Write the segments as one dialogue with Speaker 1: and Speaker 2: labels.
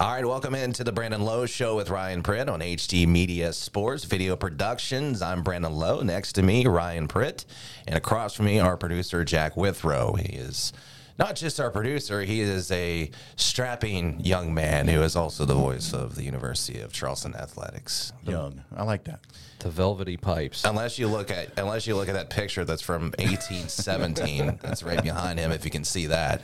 Speaker 1: All right, welcome into the Brandon Lowe Show with Ryan Pritt on HD Media Sports Video Productions. I'm Brandon Lowe. Next to me, Ryan Pritt, and across from me, our producer Jack Withrow. He is not just our producer; he is a strapping young man who is also the voice of the University of Charleston athletics.
Speaker 2: Young. I like that.
Speaker 3: The velvety pipes.
Speaker 1: Unless you look at unless you look at that picture that's from 1817, that's right behind him. If you can see that.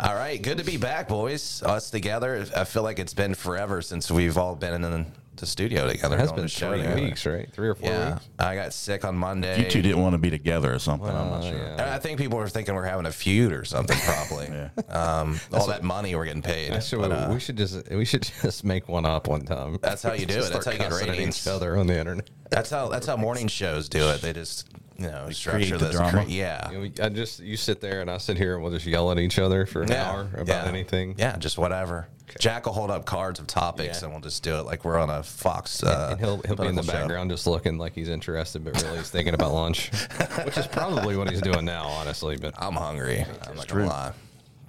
Speaker 1: All right, good to be back, boys. Us together. I feel like it's been forever since we've all been in the studio together.
Speaker 3: It has
Speaker 1: on
Speaker 3: been
Speaker 1: the show
Speaker 3: three
Speaker 1: together.
Speaker 3: weeks, right? Three or four
Speaker 1: Yeah,
Speaker 3: weeks.
Speaker 1: I got sick on Monday.
Speaker 2: You two didn't want to be together or something. I'm not
Speaker 3: Uh,
Speaker 2: sure.
Speaker 3: yeah.
Speaker 1: And I think people were thinking we're having a feud or something. Probably. um, all that money we're getting paid.
Speaker 3: Actually,
Speaker 1: but, uh,
Speaker 3: we should just we should just make one up one time.
Speaker 1: That's how you do
Speaker 3: Just
Speaker 1: it. That's
Speaker 3: start
Speaker 1: how you get
Speaker 3: cussing at
Speaker 1: ratings.
Speaker 3: Each other on the internet.
Speaker 1: that's how that's how morning shows do it. They just you know structure
Speaker 2: create the
Speaker 1: this.
Speaker 2: drama.
Speaker 1: cre- yeah.
Speaker 3: You know, I just you sit there and I sit here and we'll just yell at each other for an hour about
Speaker 1: yeah.
Speaker 3: anything.
Speaker 1: Yeah, just whatever. Jack will hold up cards of topics,
Speaker 3: Yeah.
Speaker 1: and we'll just do it like we're on a Fox. Uh,
Speaker 3: and he'll he'll be in the
Speaker 1: political show.
Speaker 3: background just looking like he's interested, but really he's thinking about lunch, which is probably what he's doing now, honestly. But
Speaker 1: I'm hungry. I'm not gonna lie.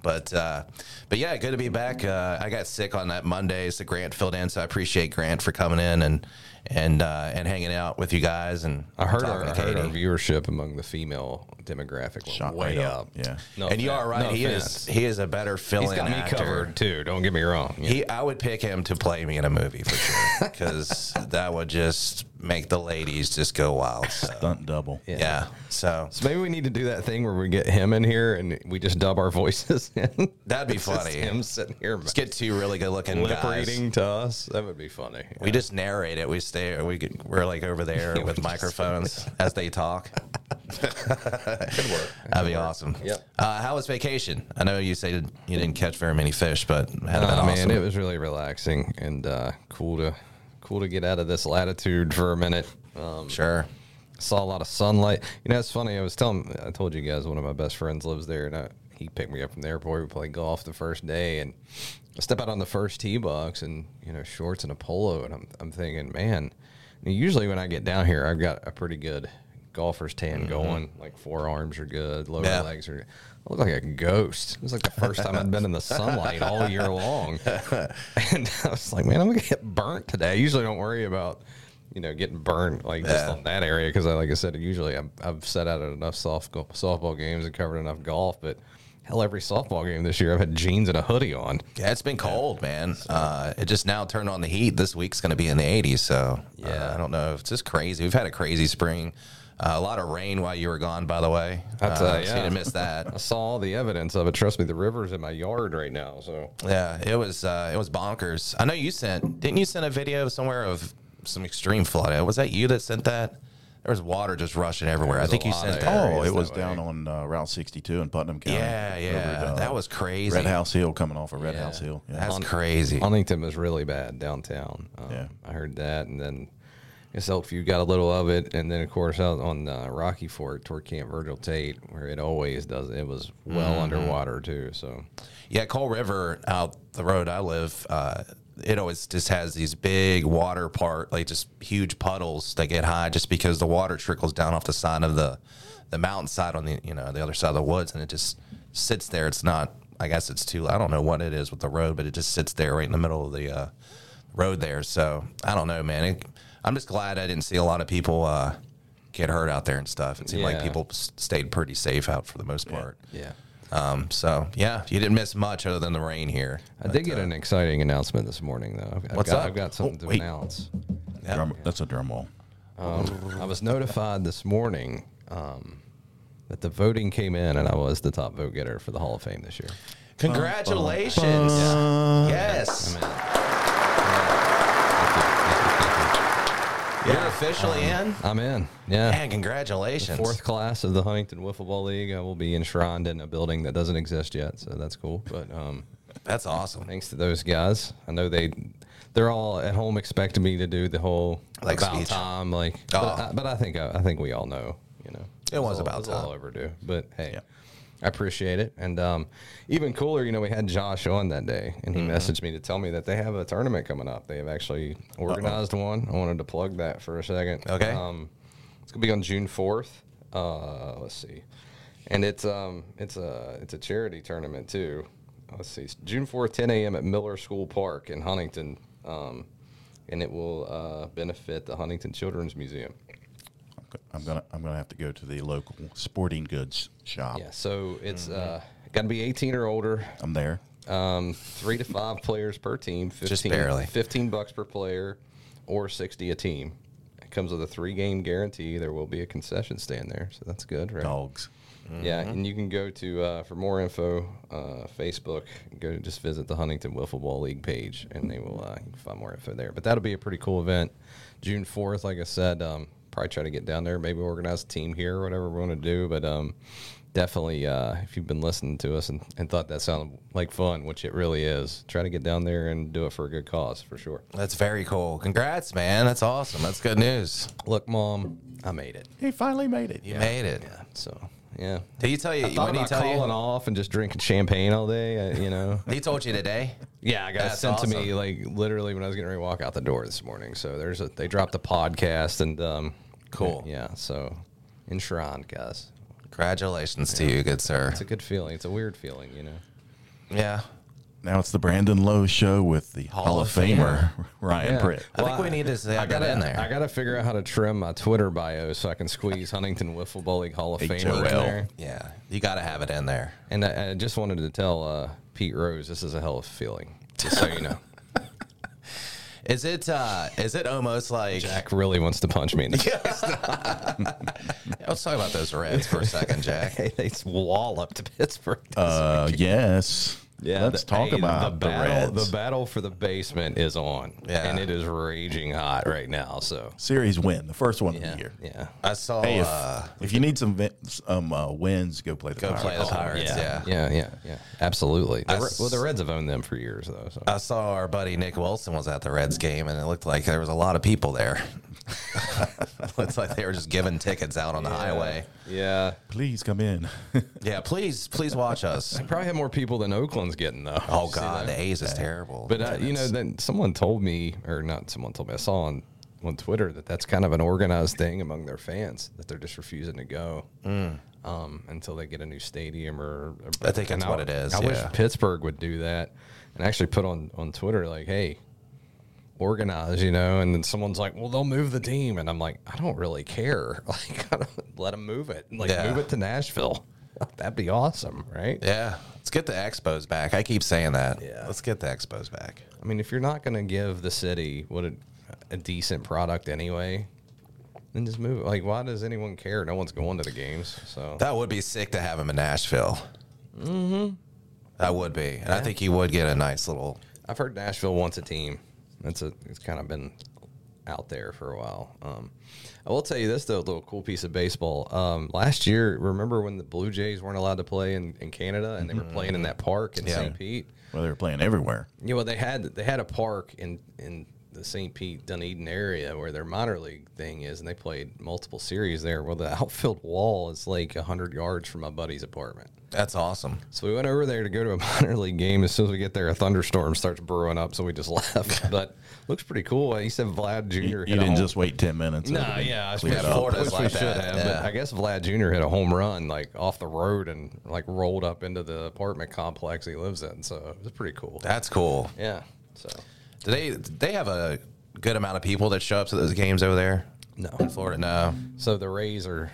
Speaker 1: But uh, but yeah, good to be back. Uh, I got sick on that Monday, so Grant filled in. So I appreciate Grant for coming in and and uh, and hanging out with you guys. And
Speaker 3: I heard,
Speaker 1: talking
Speaker 3: our,
Speaker 1: to
Speaker 3: I heard our
Speaker 1: Katie.
Speaker 3: viewership among the female demographic went
Speaker 2: Shot
Speaker 3: way
Speaker 2: right
Speaker 3: up.
Speaker 2: up. Yeah.
Speaker 3: No
Speaker 1: and you
Speaker 3: offense-
Speaker 1: are right.
Speaker 3: no
Speaker 1: he
Speaker 3: offense.
Speaker 1: is he is a better fill-in
Speaker 3: He's got me
Speaker 1: actor.
Speaker 3: covered too. Don't get me wrong. You
Speaker 1: He, I would pick him to play me in a movie for sure, because that would just make the ladies just go wild. So.
Speaker 2: Stunt double.
Speaker 1: Yeah. So
Speaker 3: So maybe we need to do that thing where we get him in here and we just dub our voices in.
Speaker 1: that'd be
Speaker 3: It's just
Speaker 1: funny.
Speaker 3: him sitting here
Speaker 1: Let's get two really good looking
Speaker 3: lip
Speaker 1: guys.
Speaker 3: reading to us. That would be funny.
Speaker 1: We just narrate it. We stay. We get- we're like over there
Speaker 3: we
Speaker 1: with
Speaker 3: just-
Speaker 1: microphones as they talk.
Speaker 3: Good work.
Speaker 1: That'd be awesome.
Speaker 3: Yep.
Speaker 1: Uh, how was vacation? I know you say you didn't catch very many fish, but had been
Speaker 3: Uh,
Speaker 1: awesome.
Speaker 3: Man, it was really relaxing and uh, cool to cool to get out of this latitude for a minute. Um,
Speaker 1: sure.
Speaker 3: saw a lot of sunlight. You know, it's funny. I was telling, I told you guys, one of my best friends lives there, and I, he picked me up from the airport. We played golf the first day, and I step out on the first tee box, and you know, shorts and a polo, and I'm, I'm thinking, man. Usually, when I get down here, I've got a pretty good golfer's tan going. Like forearms are good, lower
Speaker 1: Yeah.
Speaker 3: legs are. I look like a ghost. It was like the first time I'd been in the sunlight all year long, and I was like, man, I'm gonna get burnt today. I usually don't worry about. You know, getting burnt like just
Speaker 1: Yeah.
Speaker 3: on that area because I like I said usually I'm, I've set out at enough soft go- softball games and covered enough golf, but hell, every softball game this year I've had jeans and a hoodie on.
Speaker 1: Yeah, it's been cold, man. Uh, it just now turned on the heat. This week's going to be in the 80s, so uh,
Speaker 3: Yeah.
Speaker 1: I don't know. It's just crazy. We've had a crazy spring. Uh, a lot of rain while you were gone, by the way.
Speaker 3: That's,
Speaker 1: so
Speaker 3: uh, yeah.
Speaker 1: you didn't miss that.
Speaker 3: I saw all the evidence of it. Trust me, the river's in my yard right now. So
Speaker 1: Yeah, it was uh, it was bonkers. I know you sent didn't you send a video somewhere of some extreme flooding? Was that you that sent that? There was water just rushing everywhere. I
Speaker 3: was
Speaker 1: think
Speaker 3: a
Speaker 1: you
Speaker 3: lot
Speaker 1: sent
Speaker 3: of
Speaker 1: that.
Speaker 2: Oh,
Speaker 3: Areas
Speaker 2: it was
Speaker 3: that
Speaker 2: down on uh, Route 62 in Putnam County.
Speaker 1: yeah, yeah,
Speaker 2: Over, uh,
Speaker 1: that was crazy.
Speaker 2: Red House Hill coming off of Red
Speaker 3: Yeah.
Speaker 2: House Hill. Yeah.
Speaker 1: That's crazy.
Speaker 3: Huntington was really bad downtown. Um,
Speaker 2: Yeah.
Speaker 3: I heard that, and then I guess Elkview got a little of it, and then of course out on uh, Rocky Fork toward Camp Virgil Tate, where it always does. It was well underwater too. So
Speaker 1: Yeah, Coal River out the road I live, uh, it always just has these big water part, like just huge puddles that get high, just because the water trickles down off the side of the the mountainside on the you know the other side of the woods, and it just sits there. It's not, I guess it's too. I don't know what it is with the road, but it just sits there right in the middle of the uh, road there. So I don't know, man. It, I'm just glad I didn't see a lot of people. Uh, Get hurt out there and stuff. It seemed like
Speaker 3: Yeah.
Speaker 1: people s- stayed pretty safe out for the most part.
Speaker 3: yeah.
Speaker 1: Um, so yeah, you didn't miss much other than the rain here.
Speaker 3: I did get an exciting announcement this morning, though. I've, I've
Speaker 1: uh, What's
Speaker 3: got,
Speaker 1: up?
Speaker 3: I've got something
Speaker 2: Oh,
Speaker 3: to
Speaker 2: wait.
Speaker 3: announce.
Speaker 2: Drum, That's a drum roll.
Speaker 3: I was notified this morning um, that the voting came in, and I was the top vote getter for the Hall of Fame this year.
Speaker 1: Congratulations! Yes, you're officially in.
Speaker 3: I'm in. Yeah.
Speaker 1: And congratulations!
Speaker 3: Um, Fourth class of the Huntington Wiffle Ball League. I will be enshrined in a building that doesn't exist yet, so that's cool. But um,
Speaker 1: That's awesome.
Speaker 3: thanks to those guys, I know they they're all at home expecting me to do the whole
Speaker 1: Like
Speaker 3: about
Speaker 1: speech.
Speaker 3: time, like. But,
Speaker 1: Oh.
Speaker 3: I, but I think I, I think we all know, you know,
Speaker 1: It was
Speaker 3: all-
Speaker 1: about
Speaker 3: all
Speaker 1: time.
Speaker 3: overdue. But hey,
Speaker 2: Yeah.
Speaker 3: I appreciate it, and um, even cooler, you know, we had Josh on that day, and he messaged me to tell me that they have a tournament coming up. They have actually organized one. I wanted to plug that for a second.
Speaker 1: Okay.
Speaker 3: Um, it's gonna be on June fourth. Uh, let's see, and it's um it's a it's a charity tournament too. let's see, it's June 4th, 10 a.m. at Miller School Park in Huntington. Um, and it will uh, benefit the Huntington Children's Museum.
Speaker 2: I'm gonna I'm gonna have to go to the local sporting goods shop.
Speaker 3: Yeah, so it's uh, got to be 18 or older,
Speaker 2: I'm there.
Speaker 3: um, three to five players per team, 15,
Speaker 1: barely.
Speaker 3: 15 bucks per player, or 60 a team. It comes with a three game guarantee. There will be a concession stand there, so that's good, right?
Speaker 2: Dogs.
Speaker 3: Yeah, and you can go to uh, for more info, uh, Facebook. Go just visit the Huntington Wiffle Ball League page, and they will uh, you can find more info there. But that'll be a pretty cool event, June fourth. Like I said, um, probably try to get down there, maybe organize a team here or whatever we want to do. But um, definitely, uh, if you've been listening to us and, and thought that sounded like fun, which it really is, try to get down there and do it for a good cause for sure.
Speaker 1: That's very cool. Congrats, man. That's awesome. That's good news.
Speaker 3: Look, mom, I made it.
Speaker 2: He finally made it.
Speaker 1: You made it.
Speaker 3: So yeah.
Speaker 1: Did he tell you?
Speaker 3: Thought
Speaker 1: When he
Speaker 3: about
Speaker 1: tell
Speaker 3: calling
Speaker 1: you?
Speaker 3: off and just drinking champagne all day, uh, you know.
Speaker 1: He told you today.
Speaker 3: Yeah, I got it
Speaker 1: That's
Speaker 3: sent to me
Speaker 1: awesome.
Speaker 3: like literally when I was getting ready to walk out the door this morning. So there's a they dropped a podcast and um
Speaker 1: Cool.
Speaker 3: Yeah, so in Sharon, guys.
Speaker 1: Congratulations to you, good sir.
Speaker 3: It's a good feeling. It's a weird feeling, you know.
Speaker 1: Yeah.
Speaker 2: Now it's the Brandon Lowe show with the Hall,
Speaker 1: Hall
Speaker 2: of
Speaker 1: of
Speaker 2: Famer Ryan Pritt.
Speaker 1: I think we need to say I got in there.
Speaker 3: I gotta figure out how to trim my Twitter bio so I can squeeze Huntington Wiffle Bowl League Hall of Fame in
Speaker 2: HOL.
Speaker 3: there.
Speaker 1: yeah. You got to have it in there.
Speaker 3: And I, I just wanted to tell uh, Pete Rose this is a hell of a feeling. Just so you know.
Speaker 1: Is it? uh Is it almost like?
Speaker 3: Jack really wants to punch me in the
Speaker 1: Let's talk about those Reds for a second, Jack.
Speaker 3: they walloped Pittsburgh.
Speaker 2: Uh, yes. Let's
Speaker 3: the-
Speaker 2: talk
Speaker 3: hey,
Speaker 2: about the,
Speaker 3: battle,
Speaker 2: Reds.
Speaker 3: The battle for the basement is on,
Speaker 1: Yeah.
Speaker 3: and it is raging hot right now. So
Speaker 2: Series win, the first one of
Speaker 3: yeah,
Speaker 2: the year.
Speaker 3: yeah,
Speaker 1: I saw.
Speaker 2: Hey, if,
Speaker 1: uh,
Speaker 2: if you need some vin- some uh, wins, go play the
Speaker 1: go
Speaker 2: Pirates.
Speaker 1: play the Pirates. Yeah.
Speaker 3: Oh, yeah, yeah, yeah, absolutely. The
Speaker 1: I
Speaker 3: Re-
Speaker 1: s- Uh,
Speaker 3: well, the Reds have owned them for years, though. So.
Speaker 1: I saw our buddy Nick Wilson was at the Reds game, and it looked like there was a lot of people there. Looks like they were just giving tickets out on the highway.
Speaker 3: yeah,
Speaker 2: Please come in.
Speaker 1: Yeah, please, please watch us.
Speaker 3: probably have more people than Oakland's getting though.
Speaker 1: Oh God, the A's is terrible.
Speaker 3: But uh, you know, then someone told me, or not someone told me, I saw on on Twitter that that's kind of an organized thing among their fans that they're just refusing to go um, until they get a new stadium or. or
Speaker 1: Mm. I think
Speaker 3: and
Speaker 1: that's what it is,
Speaker 3: I
Speaker 1: yeah.
Speaker 3: wish Pittsburgh would do that and actually put on on Twitter like, hey. Organize, you know, and then someone's like, "Well, they'll move the team," and I'm like, "I don't really care. Like, I don't, let them move it. Like,
Speaker 1: Yeah.
Speaker 3: move it to Nashville. That'd be awesome, right?
Speaker 1: yeah, let's get the Expos back. I keep saying that.
Speaker 3: Yeah.
Speaker 1: let's get the Expos back.
Speaker 3: I mean, if you're not going to give the city what a, a decent product anyway, then just move. it. Like, why does anyone care? No one's going to the games, so
Speaker 1: That would be sick to have him in Nashville. Mm-hmm. That would be, and I think he would get a nice little.
Speaker 3: I've heard Nashville wants a team. That's a. It's kind of been out there for a while. Um, I will tell you this though, a little cool piece of baseball. Um, last year, remember when the Blue Jays weren't allowed to play in, in Canada and they were playing in that park in St. Pete?
Speaker 2: well, they're playing everywhere.
Speaker 3: Yeah, well, they had they had a park in in the St. Pete Dunedin area where their minor league thing is, and they played multiple series there. Well, the outfield wall is like hundred yards from my buddy's apartment,
Speaker 1: That's awesome.
Speaker 3: so we went over there to go to a minor league game. As soon as we get there, a thunderstorm starts brewing up, so we just left. but looks pretty cool. He said Vlad Jr.
Speaker 2: You,
Speaker 3: hit
Speaker 2: you
Speaker 3: a
Speaker 2: didn't
Speaker 3: home-
Speaker 2: just wait 10 minutes.
Speaker 3: Nah, yeah, I
Speaker 2: Clear
Speaker 3: suppose
Speaker 2: it up.
Speaker 1: Florida's
Speaker 3: which we
Speaker 1: like
Speaker 3: should
Speaker 1: that,
Speaker 3: have.
Speaker 1: yeah.
Speaker 3: But I guess Vlad Jr. hit a home run like off the road and like rolled up into the apartment complex he lives in. So it was pretty cool.
Speaker 1: That's cool.
Speaker 3: Yeah. So.
Speaker 1: Do they they have a good amount of people that show up to those games over there?
Speaker 3: No.
Speaker 1: in Florida. No,
Speaker 3: So the Rays are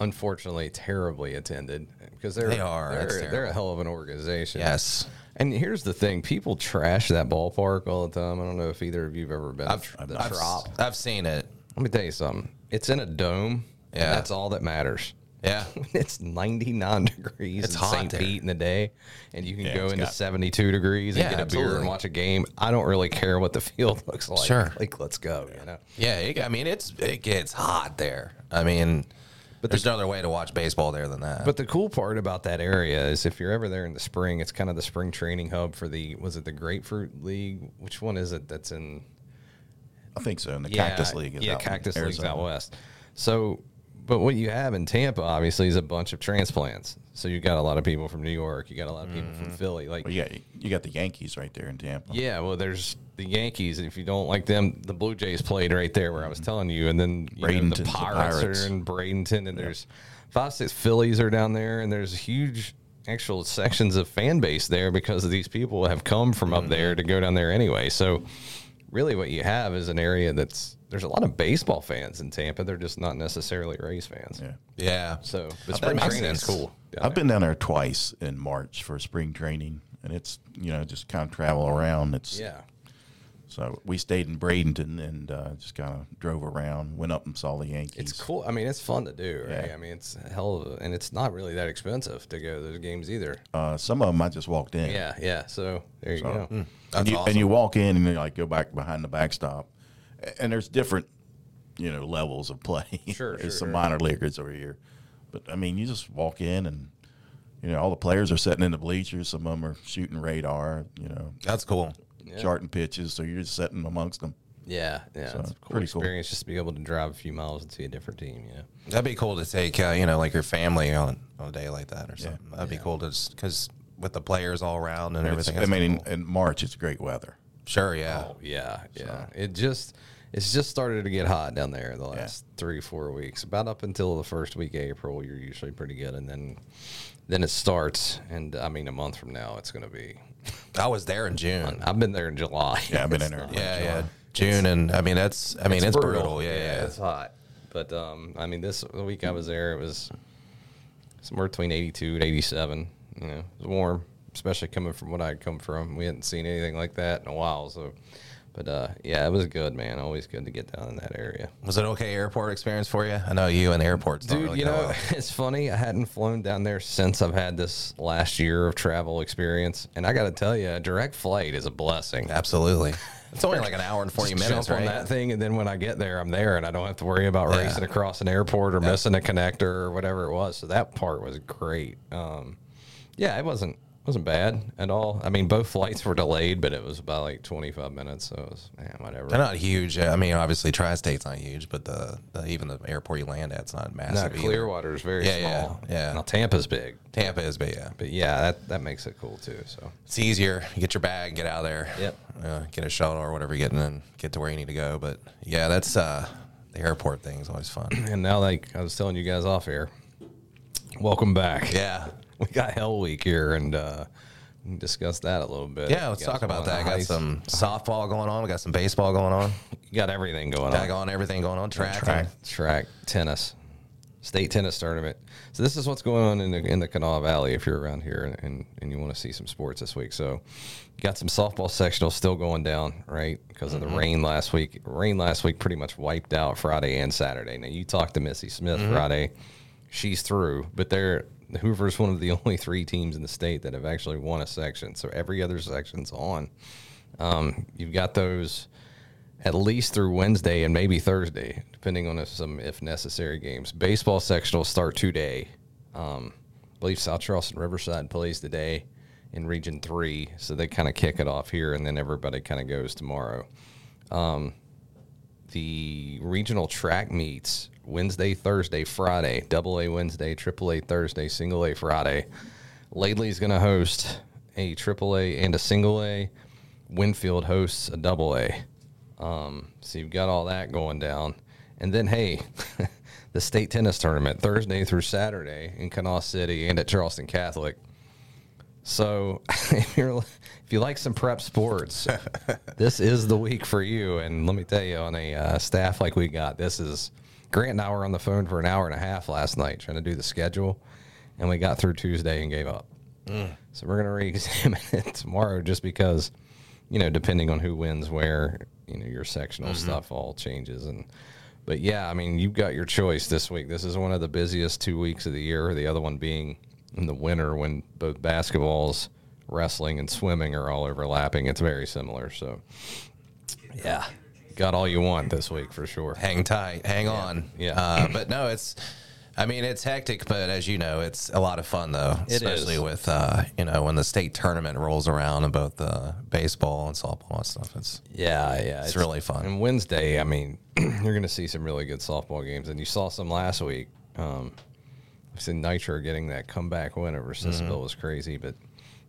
Speaker 3: unfortunately terribly attended because they're
Speaker 1: They are. That's
Speaker 3: they're,
Speaker 1: terrible.
Speaker 3: they're a hell of an organization.
Speaker 1: yes,
Speaker 3: And here's the thing: people trash that ballpark all the time. I don't know if either of you've ever been. I've, the
Speaker 1: I've,
Speaker 3: Trop.
Speaker 1: I've seen it.
Speaker 3: Let me tell you something. It's in a dome. and
Speaker 1: Yeah.
Speaker 3: that's all that matters.
Speaker 1: Yeah,
Speaker 3: It's 99 degrees
Speaker 1: It's
Speaker 3: in
Speaker 1: hot
Speaker 3: St.
Speaker 1: there.
Speaker 3: Pete in the day, and you can
Speaker 2: Yeah,
Speaker 3: go
Speaker 2: it's
Speaker 3: into
Speaker 2: got-
Speaker 3: 72 degrees and
Speaker 1: Yeah,
Speaker 3: get a beer
Speaker 1: absolutely.
Speaker 3: and watch a game. I don't really care what the field looks like.
Speaker 1: Sure.
Speaker 3: Like, let's go. You know?
Speaker 1: yeah. It, I mean, it's it gets hot there. I mean, but there's no other way to watch baseball there than that.
Speaker 3: But the cool part about that area is if you're ever there in the spring, it's kind of the spring training hub for the was it the Grapefruit League? Which one is it that's in
Speaker 2: I think so. And the Cactus League is
Speaker 3: yeah,
Speaker 2: out in
Speaker 3: Cactus League's
Speaker 2: Arizona.
Speaker 3: out west. So, but what you have in Tampa obviously is a bunch of transplants. So you got a lot of people from New York, you got a lot of people
Speaker 2: Mm-hmm.
Speaker 3: from Philly. Like
Speaker 2: Well, you, got, you got the Yankees right there in Tampa.
Speaker 3: yeah, well, there's the Yankees. If you don't like them, the Blue Jays played right there where I was telling you, and then you know,
Speaker 2: Bradenton's
Speaker 3: the
Speaker 2: Mm-hmm. the
Speaker 3: Pirates
Speaker 2: Pirates.
Speaker 3: are in Bradenton, and there's five, six Phillies are down there, and there's a huge actual sections of fan base there because of these people have come from up
Speaker 2: Mm-hmm.
Speaker 3: there to go down there anyway. So really what you have is an area that's there's a lot of baseball fans in Tampa. They're just not necessarily Rays fans.
Speaker 2: Yeah.
Speaker 1: Yeah.
Speaker 3: So but spring
Speaker 1: makes
Speaker 3: training is
Speaker 1: sense.
Speaker 3: cool. down
Speaker 2: I've been down there twice in March for spring training, and it's you know just kind of travel around. It's
Speaker 3: there. Yeah.
Speaker 2: so we stayed in Bradenton and uh, just kind of drove around, went up and saw the Yankees.
Speaker 3: It's cool. I mean, it's fun to do, right?
Speaker 2: Yeah.
Speaker 3: I mean, it's a hell of a, and it's not really that expensive to go to those games either.
Speaker 2: Uh, some of them I just walked in.
Speaker 3: Yeah, yeah. So there you go.
Speaker 2: and
Speaker 1: That's
Speaker 2: you,
Speaker 1: awesome.
Speaker 2: and you walk in and you like go back behind the backstop, A- and there's different, you know, levels of play.
Speaker 3: Sure,
Speaker 2: there's
Speaker 3: sure,
Speaker 2: some
Speaker 3: sure.
Speaker 2: minor leaguers over here, but I mean, you just walk in and you know all the players are sitting in the bleachers. Some of them are shooting radar, you know,
Speaker 1: That's cool.
Speaker 2: charting pitches. So you're just sitting amongst them.
Speaker 3: Yeah, yeah. it's a cool
Speaker 2: pretty cool.
Speaker 3: experience just to be able to drive a few miles and see a different team. You know,
Speaker 1: That'd be cool to take, uh, you know, like your family on, on a day like that or something. That'd be cool to just because with the players all around and
Speaker 2: It's-
Speaker 1: everything.
Speaker 2: I
Speaker 1: that's
Speaker 2: mean,
Speaker 1: cool.
Speaker 2: in, in March it's great weather.
Speaker 1: sure, yeah.
Speaker 3: Oh, yeah, yeah. It just it's just started to get hot down there the last three four weeks. About up until the first week of April, you're usually pretty good, and then then it starts. And I mean, a month from now, it's going to be.
Speaker 1: I was there in June.
Speaker 3: I've been there in July.
Speaker 2: Yeah, I've been in there.
Speaker 1: Yeah, yeah. June and I mean that's I mean it's, brutal. Yeah, yeah.
Speaker 3: it's hot. But um, I mean, this the week I was there, it was somewhere between eighty-two and eighty-seven. You know, it was warm, especially coming from what I come from. We hadn't seen anything like that in a while. So, but uh, yeah, it was good, man. Always good to get down in that area.
Speaker 1: Was it okay airport experience for you? I know you and airports. don't
Speaker 3: Dude,
Speaker 1: really
Speaker 3: you
Speaker 1: go
Speaker 3: know,
Speaker 1: well.
Speaker 3: it's funny. I hadn't flown down there since I've had this last year of travel experience, and I got to tell you, a direct flight is a blessing.
Speaker 1: absolutely. It's only like an hour and forty
Speaker 3: Just
Speaker 1: minutes,
Speaker 3: jump
Speaker 1: right?
Speaker 3: on that thing, and then when I get there, I'm there, and I don't have to worry about racing across an airport or missing a connector or whatever it was. So that part was great. Um, yeah, it wasn't wasn't bad at all. I mean, both flights were delayed, but it was by like 25 minutes, so it was man, whatever.
Speaker 1: They're not huge. I mean, obviously, tri-state's not huge, but the, the even the airport you land at's not
Speaker 3: Now,
Speaker 1: massive. either.
Speaker 3: Clearwater is very
Speaker 1: Yeah, yeah,
Speaker 3: small.
Speaker 1: yeah.
Speaker 3: Now Tampa's big,
Speaker 1: Tampa is, but yeah,
Speaker 3: but yeah, that that makes it cool too. So
Speaker 1: it's easier. You get your bag, get out of there.
Speaker 3: Yep.
Speaker 1: Uh, get a shuttle or whatever you get, and then get to where you need to go. But yeah, that's uh, the airport thing's always fun.
Speaker 3: and now, like I was telling you guys off air, welcome back.
Speaker 1: yeah.
Speaker 3: we got Hell Week here, and uh, we can discuss that a little bit.
Speaker 1: Yeah, let's
Speaker 3: You guys
Speaker 1: talk about
Speaker 3: want
Speaker 1: that. I got
Speaker 3: ice?
Speaker 1: some softball going on. We got some baseball going on.
Speaker 3: You got everything going
Speaker 1: I
Speaker 3: on.
Speaker 1: got on everything going on. Track.
Speaker 2: Track.
Speaker 3: Oh. Track, tennis, state tennis tournament. So this is what's going on in the in the Kanawha Valley if you're around here and, and, and you want to see some sports this week. So got some softball sectional still going down, right? Because of the rain last week. Rain last week pretty much wiped out Friday and Saturday. Now you talked to Missy Smith Friday. She's through, but they're Hoover's one of the only three teams in the state that have actually won a section. So every other section's on. Um, you've got those at least through Wednesday and maybe Thursday, depending on if some if necessary games. Baseball sectional start today. Um, I believe South Charleston Riverside plays today in Region Three, so they kind of kick it off here, and then everybody kind of goes tomorrow. Um, the regional track meets Wednesday, Thursday, Friday. Double A Wednesday, Triple A Thursday, Single A Friday. Laidley's going to host a Triple A and a Single A. Winfield hosts a Double A. So you've got all that going down. And then, hey, the state tennis tournament Thursday through Saturday in Kanawha City and at Charleston Catholic. So if you're if you like some prep sports, this is the week for you. And let me tell you, on a uh, staff like we got, this is Grant and I were on the phone for an hour and a half last night trying to do the schedule, and we got through Tuesday and gave up. So we're gonna re-examine it tomorrow, just because, you know, depending on who wins where, you know, your sectional stuff all changes. And but yeah, I mean, you've got your choice this week. This is one of the busiest two weeks of the year. The other one being in the winter when both basketballs, wrestling, and swimming are all overlapping. It's very similar. So yeah, got all you want this week for sure.
Speaker 1: hang tight, hang on.
Speaker 3: Yeah.
Speaker 1: Uh, but no, it's. I mean, it's hectic, but as you know, it's a lot of fun though,
Speaker 3: It
Speaker 1: especially
Speaker 3: is.
Speaker 1: with uh, you know when the state tournament rolls around and both the baseball and softball and stuff. It's
Speaker 3: Yeah, yeah, it's,
Speaker 1: really fun.
Speaker 3: And Wednesday, I mean, you're going to see some really good softball games, and you saw some last week. Um, I've seen Nitro getting that comeback win over Sissonville was crazy, but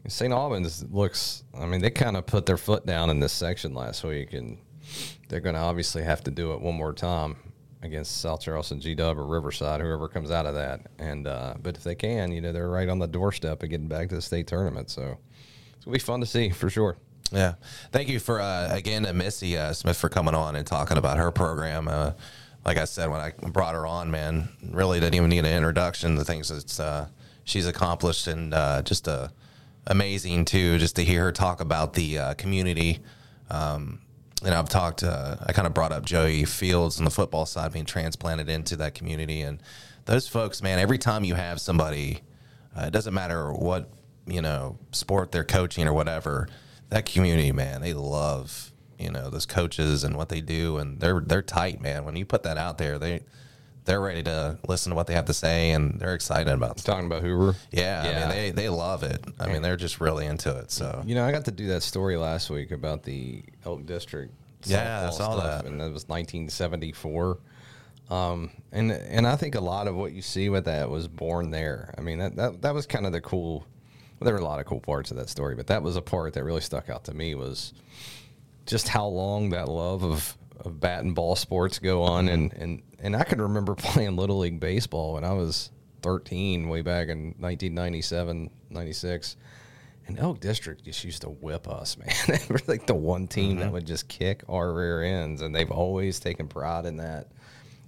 Speaker 3: St. Albans looks. I mean, they kind of put their foot down in this section last week, and they're going to obviously have to do it one more time. against South Charleston G Dub or Riverside, whoever comes out of that. And uh, but if they can, you know, they're right on the doorstep of getting back to the state tournament. So it's gonna be fun to see for sure.
Speaker 1: Yeah. Thank you for uh, again to Missy uh, Smith for coming on and talking about her program. Uh, like I said when I brought her on, man, really didn't even need an introduction. The things that uh, she's accomplished and uh, just uh, amazing too. Just to hear her talk about the uh, community. Um, and I've talked. Uh, I kind of brought up Joey Fields and the football side being transplanted into that community, and those folks, man. Every time you have somebody, uh, it doesn't matter what you know sport they're coaching or whatever. That community, man, they love you know those coaches and what they do, and they're they're tight, man. When you put that out there, they they're ready to listen to what they have to say, and they're excited about. Stuff.
Speaker 3: Talking about Hoover.
Speaker 1: Yeah, I
Speaker 3: Yeah.
Speaker 1: mean they they love it. I mean they're just really into it. So
Speaker 3: You know, I got to do that story last week about the Elk District.
Speaker 1: Yeah, I
Speaker 3: softball
Speaker 1: saw that.
Speaker 3: and that was 1974. Um, and and I think a lot of what you see with that was born there. I mean, that that, that was kind of the cool. Well, there were a lot of cool parts of that story, but that was a part that really stuck out to me was just how long that love of, of bat and ball sports go on and, and and I can remember playing little league baseball when I was 13 way back in 1997 96 and Elk District just used to whip us man they were like the one team that would just kick our rear ends and they've always taken pride in that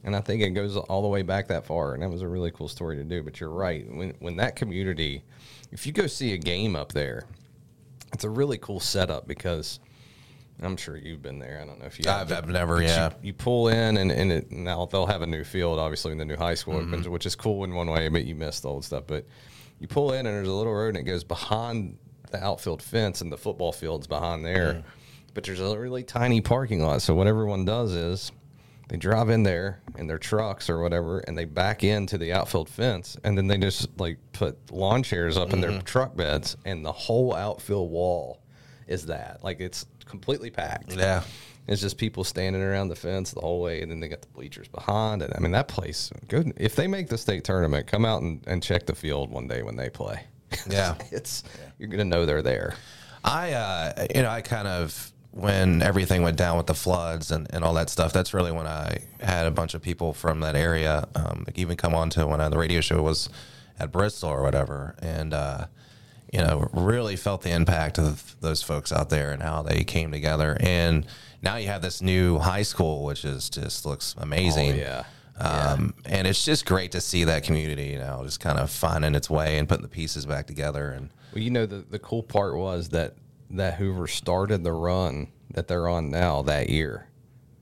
Speaker 3: and I think it goes all the way back that far and that was a really cool story to do but you're right when when that community if you go see a game up there it's a really cool setup because I'm sure you've been there. I don't know if you have.
Speaker 1: I've, I've never, yeah.
Speaker 3: You pull in, and, and it, now they'll have a new field, obviously, in the new high school, opens, which is cool in one way, but you miss the old stuff. But you pull in, and there's a little road, and it goes behind the outfield fence, and the football field's behind there. But there's a really tiny parking lot. So what everyone does is they drive in there in their trucks or whatever, and they back into the outfield fence, and then they just like put lawn chairs up in their truck beds, and the whole outfield wall is that. Like it's completely packed.
Speaker 1: Yeah.
Speaker 3: It's just people standing around the fence the whole way, and then they got the bleachers behind. And I mean, that place, good. If they make the state tournament, come out and, and check the field one day when they play.
Speaker 1: Yeah.
Speaker 3: it's you're gonna know they're there.
Speaker 1: I, uh, you know, I kind of when everything went down with the floods and, and all that stuff. That's really when I had a bunch of people from that area, um, like even come on to when I, the radio show was at Bristol or whatever, and uh, you know, really felt the impact of those folks out there and how they came together. And now you have this new high school, which is just looks amazing.
Speaker 3: Oh, yeah.
Speaker 1: Um, and it's just great to see that community, you know, just kind of finding its way and putting the pieces back together. And
Speaker 3: Well, you know, the the cool part was that that Hoover started the run that they're on now that year.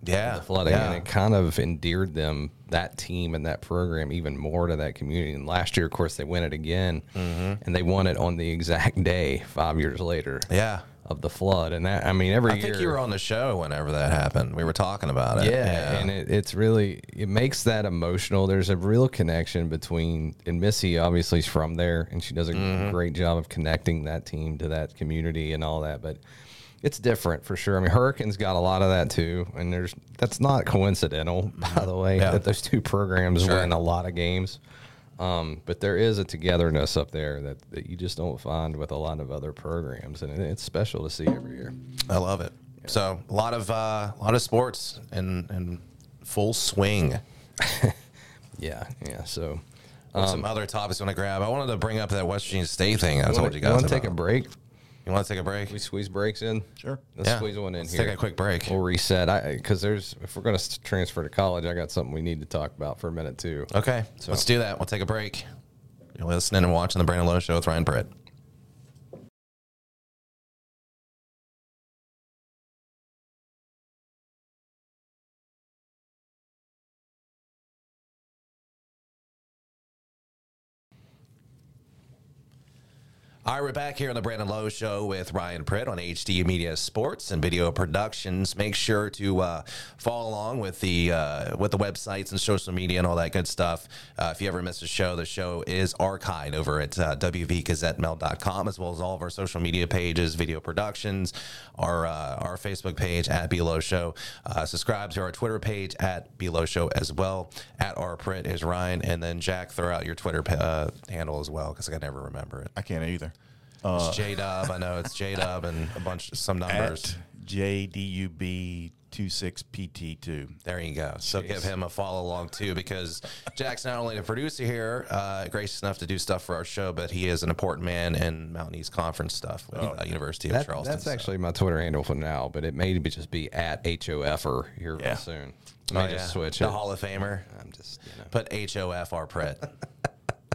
Speaker 1: yeah,
Speaker 3: flooding,
Speaker 1: yeah.
Speaker 3: and it kind of endeared them that team and that program even more to that community. And last year, of course, they win it again,
Speaker 1: Mm-hmm.
Speaker 3: and they won it on the exact day five years later
Speaker 1: Yeah.
Speaker 3: of the flood. And that I mean, every
Speaker 1: I
Speaker 3: year
Speaker 1: think you were on the show whenever that happened. We were talking about it.
Speaker 3: yeah, and it, it's really it makes that emotional. There's a real connection between and Missy obviously is from there, and she does a
Speaker 1: Mm-hmm.
Speaker 3: great job of connecting that team to that community and all that. But it's different for sure. I mean, Hurricanes got a lot of that too, and there's that's not coincidental, by the way,
Speaker 1: Mm-hmm. Yeah.
Speaker 3: that those two programs
Speaker 1: Sure.
Speaker 3: win a lot of games. Um, but there is a togetherness up there that, that you just don't find with a lot of other programs, and it, it's special to see every year.
Speaker 1: I love it. So a lot of uh, a lot of sports and and full swing.
Speaker 3: Yeah, yeah. So
Speaker 1: What's
Speaker 3: Um,
Speaker 1: some other topics you want to grab. I wanted to bring up that West Virginia State thing. I told you guys.
Speaker 3: want to take a
Speaker 1: about.
Speaker 3: break?
Speaker 1: you want to take a break?
Speaker 3: We squeeze breaks in.
Speaker 2: Sure.
Speaker 3: Let's
Speaker 1: Yeah.
Speaker 3: squeeze one in
Speaker 1: Let's
Speaker 3: here.
Speaker 1: Take a quick break.
Speaker 3: We'll reset. I because there's if we're gonna s- transfer to college, I got something we need to talk about for a minute too.
Speaker 1: Okay, let's do that. We'll take a break. You're listening and watching the Brandon Lowe Show with Ryan Britt. All right, we're back here on the Brandon Lowe Show with Ryan Pritt on HD Media Sports and Video Productions. Make sure to uh, follow along with the uh, with the websites and social media and all that good stuff. Uh, if you ever miss a show, the show is archived over at uh, wvgazettemail.com as well as all of our social media pages, Video Productions, our uh, our Facebook page at Below Show. Uh, subscribe to our Twitter page at Below Show as well. At our Pritt is Ryan, and then Jack throw out your Twitter uh, handle as well because I can never remember it.
Speaker 2: I can't either.
Speaker 3: Uh,
Speaker 1: It's J Dub. I know it's J Dub and a bunch some numbers.
Speaker 2: At J D U B 26 PT2.
Speaker 1: There you go. So give him a follow along too, because Jack's not only the producer here, uh, gracious enough to do stuff for our show, but he is an important man in Mountain East Conference stuff with uh, University of
Speaker 3: Oh, That-
Speaker 1: Charleston.
Speaker 3: that's
Speaker 1: So-
Speaker 3: actually my Twitter handle for now, but it may be just be at HOFer here
Speaker 2: Yeah.
Speaker 3: real soon. I
Speaker 1: Oh,
Speaker 3: may
Speaker 1: yeah.
Speaker 3: just switch
Speaker 1: the
Speaker 3: it.
Speaker 1: Hall of Famer.
Speaker 3: I'm just, you know.
Speaker 1: Put H O F R Pret.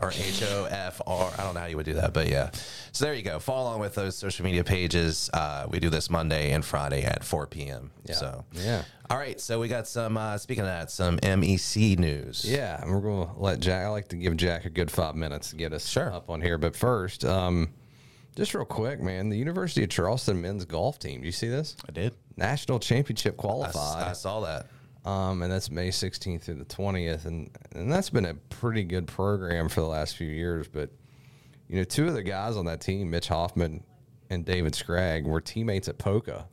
Speaker 1: Or H O F R. I don't know how you would do that, but yeah. So there you go. Follow along with those social media pages. Uh, we do this Monday and Friday at 4 p.m.
Speaker 3: Yeah.
Speaker 1: So,
Speaker 3: Yeah.
Speaker 1: All right. So we got some, uh, speaking of that, some MEC news.
Speaker 3: Yeah, and we're going to let Jack. I like to give Jack a good five minutes to get us
Speaker 1: Sure.
Speaker 3: up on here. But first, um, just real quick, man, the University of Charleston men's golf team. Do you see this?
Speaker 2: I did.
Speaker 3: National
Speaker 1: I,
Speaker 3: championship
Speaker 1: s- I
Speaker 3: qualified,
Speaker 1: saw that.
Speaker 3: um, and that's May 16th through the 20th, and and that's been a pretty good program for the last few years. But you know, two of the guys on that team, Mitch Hoffman and David Scragg, were teammates at Poca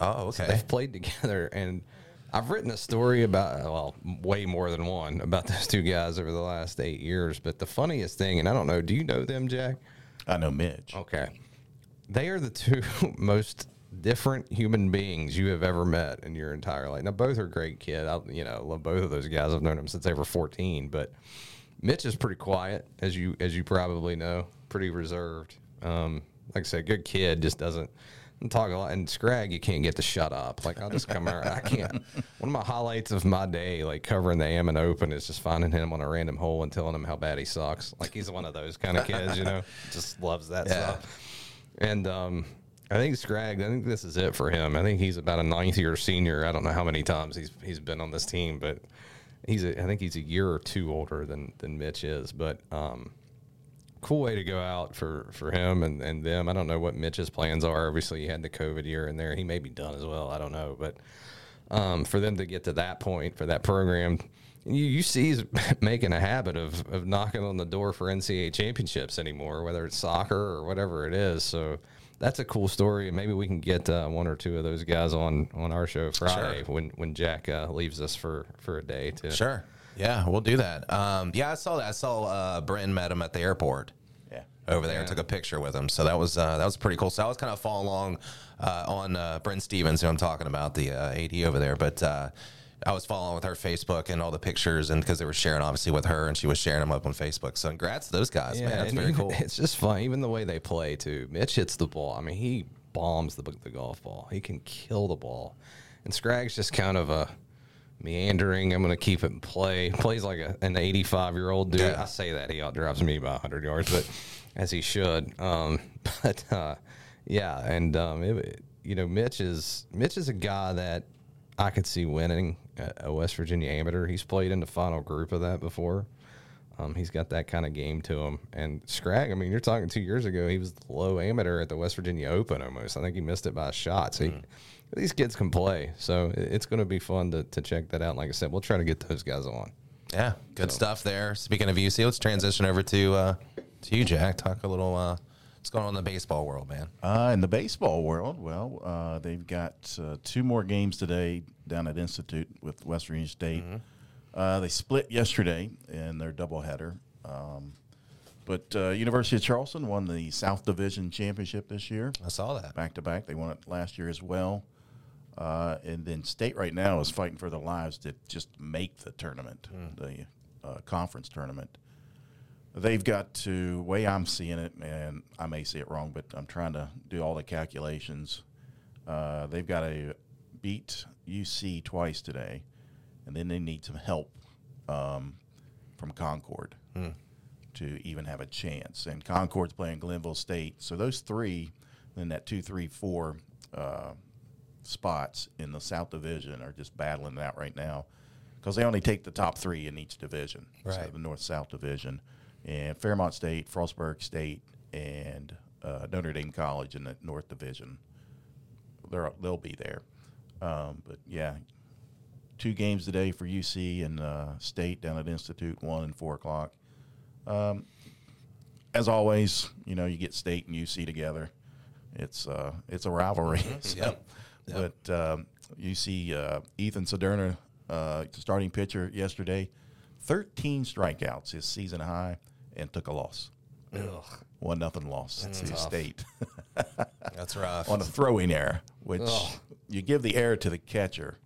Speaker 1: Oh, okay.
Speaker 3: they've played together and i've written a story about well way more than one about those two guys over the last eight years but the funniest thing and i don't know do you know them jack
Speaker 2: I know Mitch.
Speaker 1: Oh.
Speaker 3: okay they are the two most different human beings you have ever met in your entire life now both are great kid i you know love both of those guys i've known them since they were 14 but mitch is pretty quiet as you as you probably know pretty reserved um like i said good kid just doesn't doesn't talk a lot and scrag you can't get to shut up like i'll just come around i can't one of my highlights of my day like covering the ammon open is just finding him on a random hole and telling him how bad he sucks like he's one of those kind of kids you know just loves that stuff and um, I think Scraggs, I think this is it for him. I think he's about a ninth year senior. I don't know how many times he's he's been on this team, but he's a, I think he's a year or two older than than Mitch is. But um, cool way to go out for for him and and them. I don't know what Mitch's plans are. Obviously, he had the COVID year in there. He may be done as well. I don't know, but um, for them to get to that point for that program. You, you see, he's making a habit of, of knocking on the door for NCAA championships anymore, whether it's soccer or whatever it is. So that's a cool story, and maybe we can get uh, one or two of those guys on, on our show Friday when when Jack uh, leaves us for, for a day to
Speaker 1: Sure. Yeah, we'll do that. Um, yeah, I saw that. I saw uh, Brenton met him at the airport.
Speaker 2: Yeah.
Speaker 1: over there and took a picture with him. So that was uh, that was pretty cool. So I was kind of following along uh, on uh, Brent Stevens, who I'm talking about, the uh, AD over there. But uh, I was following with her Facebook and all the pictures, and because they were sharing obviously with her, and she was sharing them up on Facebook. So congrats to those guys, man. That's
Speaker 3: and
Speaker 1: very
Speaker 3: even-
Speaker 1: cool.
Speaker 3: It's just fun, even the way they play too. Mitch hits the ball. I mean, he bombs the the golf ball. He can kill the ball, and Scraggs just kind of a meandering. I'm going to keep it in play. Plays like a, an 85 year old dude.
Speaker 1: Yeah.
Speaker 3: I say that he outdrives me by 100 yards, but as he should. Um, but uh, yeah, and um, it, you know, Mitch is Mitch is a guy that I could see winning a, a West Virginia amateur. He's played in the final group of that before. Um, he's got that kind of game to him. And Scrag, I mean, you're talking two years ago, he was the low amateur at the West Virginia Open almost. I think he missed it by a shot. So he- these kids can play. So it- it's going to be fun to, to check that out. Like I said, we'll try to get those guys on.
Speaker 1: Yeah, good stuff there. Speaking of UC, let's transition over to uh, to you, Jack. Talk a little. Uh, what's going on in the baseball world, man?
Speaker 2: Uh, in the baseball world, well, uh, they've got uh, two more games today down at Institute with West Virginia State. Uh, they split yesterday in their doubleheader. Um, but uh, University of Charleston won the South Division Championship this year,
Speaker 1: I saw that.
Speaker 2: back to back. They won it last year as well. Uh, and then State right now is fighting for their lives to just make the tournament, the uh, conference tournament they've got to way I'm seeing it, and I may see it wrong, but I'm trying to do all the calculations. Uh, they've got to beat UC twice today, and then they need some help um, from Concord to even have a chance. And Concord's playing Glenville State, so those three, then that two, three, four uh, spots in the South Division are just battling it out right now because they only take the top three in each division, so
Speaker 1: Right.
Speaker 2: the North South Division, and Fairmont State, Frostburg State, and uh, Notre Dame College in the North Division. They're, they'll be there, um, but yeah, two games today for UC and uh, State down at Institute, one and four o'clock Um, as always, you know, you get state and UC together. It's uh, it's a rivalry. So,
Speaker 1: Mm-hmm. Yep.
Speaker 2: But um, you see uh, Ethan Soderner, uh, starting pitcher yesterday, 13 strikeouts, his season high, and took a loss. One nothing loss to state
Speaker 1: That's rough.
Speaker 2: on a throwing error, which
Speaker 3: Ugh.
Speaker 2: you give the error to the catcher,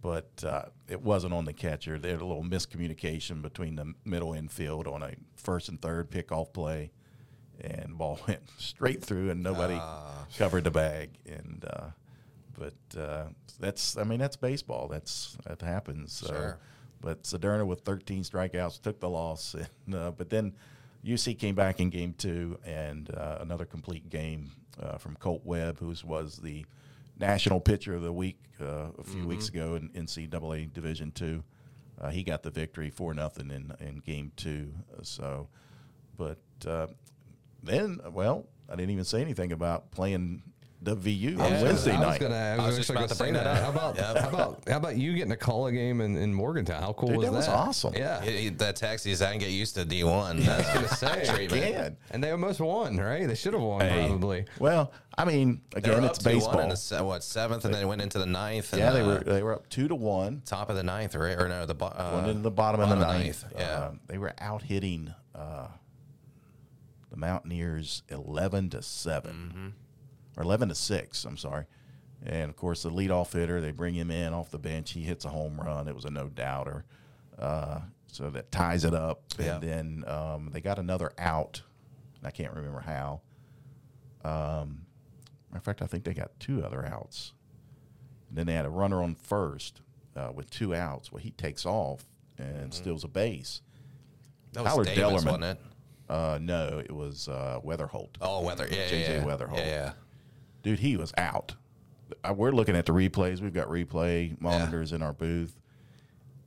Speaker 2: but uh, it wasn't on the catcher. There was a little miscommunication between the middle infield on a first and third pickoff play, and ball went straight through, and nobody covered the bag. And uh, but uh, that's I mean that's baseball. That's that happens. So.
Speaker 1: Sure.
Speaker 2: But Sederna with 13 strikeouts took the loss, and, uh, but then UC came back in game two and uh, another complete game uh, from Colt Webb, who was the national pitcher of the week uh, a few weeks ago in NCAA Division two. Uh, he got the victory four nothing in in game two. So, but uh, then well, I didn't even say anything about playing the VU on
Speaker 1: Yeah.
Speaker 2: Wednesday
Speaker 3: I was
Speaker 2: night.
Speaker 3: gonna, I was
Speaker 1: I was just
Speaker 3: actually
Speaker 1: about
Speaker 3: gonna
Speaker 1: to
Speaker 3: say
Speaker 1: bring
Speaker 3: that.
Speaker 1: that up.
Speaker 3: How about how about how about you getting a call a game in, in Morgantown? How cool
Speaker 2: Dude,
Speaker 3: was that?
Speaker 2: that was awesome.
Speaker 3: Yeah,
Speaker 1: It- it- that taxis, I can get used to D one.
Speaker 3: I was gonna say.
Speaker 2: Again.
Speaker 3: And they almost won, right? They should have won
Speaker 2: Hey.
Speaker 3: probably.
Speaker 2: Well, I mean,
Speaker 1: They were
Speaker 2: again,
Speaker 1: up
Speaker 2: it's
Speaker 1: 2-1
Speaker 2: baseball.
Speaker 1: in the se- what seventh, and then went into the ninth. And,
Speaker 2: yeah, they were
Speaker 1: uh,
Speaker 2: they were up two to one.
Speaker 1: top of the ninth, right? Or no, the bo- uh,
Speaker 2: one in the bottom, of the
Speaker 1: bottom
Speaker 2: ninth.
Speaker 1: Yeah,
Speaker 2: Um, they were out hitting uh, the Mountaineers eleven to 7 or eleven to six. I'm sorry. And of course, the leadoff hitter, they bring him in off the bench. He hits a home run. It was a no doubter. Uh, so that ties it up.
Speaker 1: Yeah.
Speaker 2: And then um, they got another out. And I can't remember how. Um, matter of fact, I think they got two other outs. And then they had a runner on first uh, with two outs. Well, he takes off and steals a base.
Speaker 1: that was
Speaker 2: Howard
Speaker 1: Davis,
Speaker 2: Dellerman.
Speaker 1: wasn't it?
Speaker 2: Uh, no, it was uh, Weatherholt.
Speaker 1: Oh, Weather, yeah, yeah,
Speaker 2: J.J.
Speaker 1: yeah.
Speaker 2: Weatherholt.
Speaker 1: yeah, yeah.
Speaker 2: Dude, he was out. Uh, We're looking at the replays. We've got replay monitors in our booth.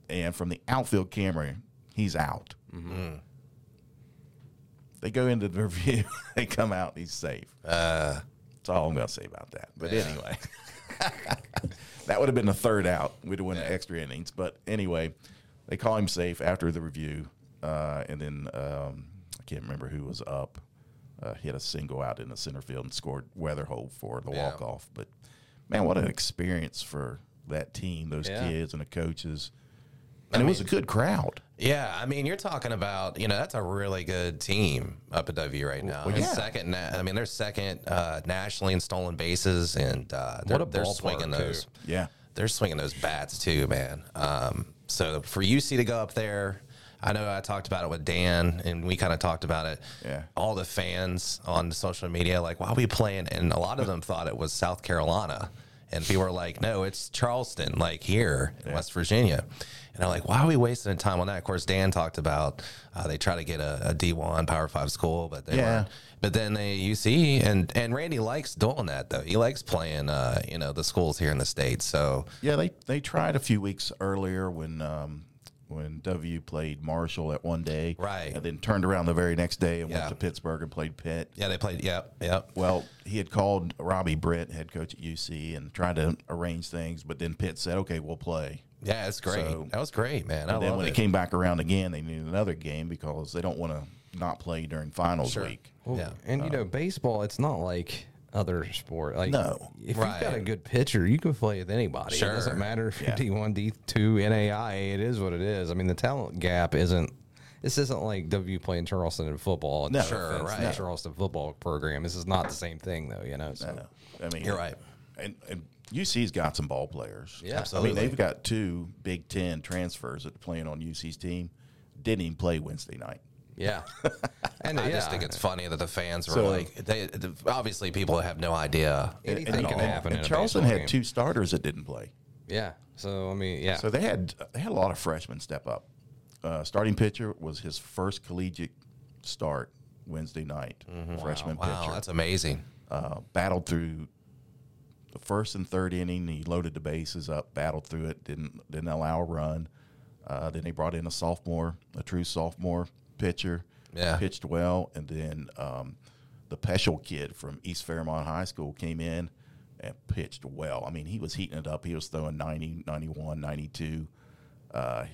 Speaker 2: And from the outfield camera, he's out. They go into the review. they come out. He's safe. That's all I'm going to say about that. But anyway, that would have been the third out. We'd have won the extra innings. But anyway, they call him safe after the review. Uh, and then um, I can't remember who was up. Uh, hit a single out in the center field and scored Weatherhold for the
Speaker 1: Yeah.
Speaker 2: walk off. But man, what an experience for that team, those
Speaker 3: Yeah.
Speaker 2: kids and the coaches. And it was a good crowd.
Speaker 1: Yeah, I mean, you're talking about you know that's a really good team up at W right now.
Speaker 2: Well,
Speaker 1: It's
Speaker 2: yeah.
Speaker 1: Second, na- I mean, they're second uh, nationally in stolen bases, and uh, they're,
Speaker 3: What a
Speaker 1: they're
Speaker 3: ballpark,
Speaker 1: swinging
Speaker 3: too.
Speaker 1: those.
Speaker 2: Yeah.
Speaker 1: They're swinging those bats too, man. Um, so for UC to go up there, I know I talked about it with Dan, and we kind of talked about it.
Speaker 2: Yeah.
Speaker 1: All the fans on social media, like, why are we playing? And a lot of them thought it was South Carolina, and people were like, no, it's Charleston, like here in West Virginia. And I'm like, why are we wasting time on that? Of course, Dan talked about uh, they try to get a, a D1 Power Five school, but they
Speaker 2: Yeah.
Speaker 1: weren't. But then they, you see, and and Randy likes doing that though. He likes playing, uh, you know, the schools here in the states. So
Speaker 2: Yeah, they, they tried a few weeks earlier when um, when W played Marshall at one day,
Speaker 1: Right.
Speaker 2: and then turned around the very next day and
Speaker 1: Yeah.
Speaker 2: went to Pittsburgh and played Pitt.
Speaker 1: yeah, they played. Yep, yep.
Speaker 2: Well, he had called Robbie Britt, head coach at UC, and tried to arrange things, but then Pitt said, "Okay, we'll play."
Speaker 1: Yeah, it's great.
Speaker 2: So-
Speaker 1: that was great, man. I
Speaker 2: And then
Speaker 1: love
Speaker 2: when
Speaker 1: it.
Speaker 2: it came back around again, they needed another game because they don't want to not play during finals
Speaker 1: Sure.
Speaker 2: week.
Speaker 3: Well,
Speaker 1: Yeah.
Speaker 3: And you
Speaker 2: uh,
Speaker 3: know, baseball, it's not like other sport. Like
Speaker 2: No.
Speaker 3: if you've got
Speaker 1: Right.
Speaker 3: a good pitcher, you can play with anybody. It
Speaker 1: Sure.
Speaker 3: doesn't matter if
Speaker 2: Yeah.
Speaker 3: you're D one, D two, NAI, it is what it is. I mean the talent gap isn't this isn't like W playing Charleston in football.
Speaker 2: No.
Speaker 3: sure,
Speaker 1: Sure,
Speaker 3: right.
Speaker 1: right.
Speaker 3: The Charleston football program. This is not the same thing though, you know. So
Speaker 2: No, I mean,
Speaker 1: You're right.
Speaker 2: And, and UC's got some ball players.
Speaker 3: Yeah.
Speaker 2: I
Speaker 1: Absolutely.
Speaker 2: mean, they've got two Big Ten transfers that are playing on UC's team. Didn't even play Wednesday night.
Speaker 3: yeah. and
Speaker 1: I
Speaker 3: yeah,
Speaker 1: just think it's funny that the fans were
Speaker 2: So-
Speaker 1: like, they, the- obviously people have no idea.
Speaker 3: anything
Speaker 2: And-
Speaker 3: can
Speaker 2: and-
Speaker 3: happen.
Speaker 2: and
Speaker 3: in a
Speaker 2: Charleston
Speaker 3: baseball
Speaker 2: had
Speaker 3: game.
Speaker 2: two starters that didn't play.
Speaker 3: Yeah. So I mean yeah.
Speaker 2: So they had they had a lot of freshmen step up. Uh, starting pitcher was his first collegiate start Wednesday night.
Speaker 3: Mm-hmm.
Speaker 2: Freshman
Speaker 1: Wow,
Speaker 2: pitcher
Speaker 1: that's amazing.
Speaker 2: uh, battled through the first and third inning. He loaded the bases up, battled through it, didn't didn't allow a run. Uh, then they brought in a sophomore, a true sophomore pitcher.
Speaker 1: Yeah.
Speaker 2: pitched well, and then um, the Peschel kid from East Fairmont High School came in and pitched well. I mean, he was heating it up. He was throwing 90, 91, 92, uh,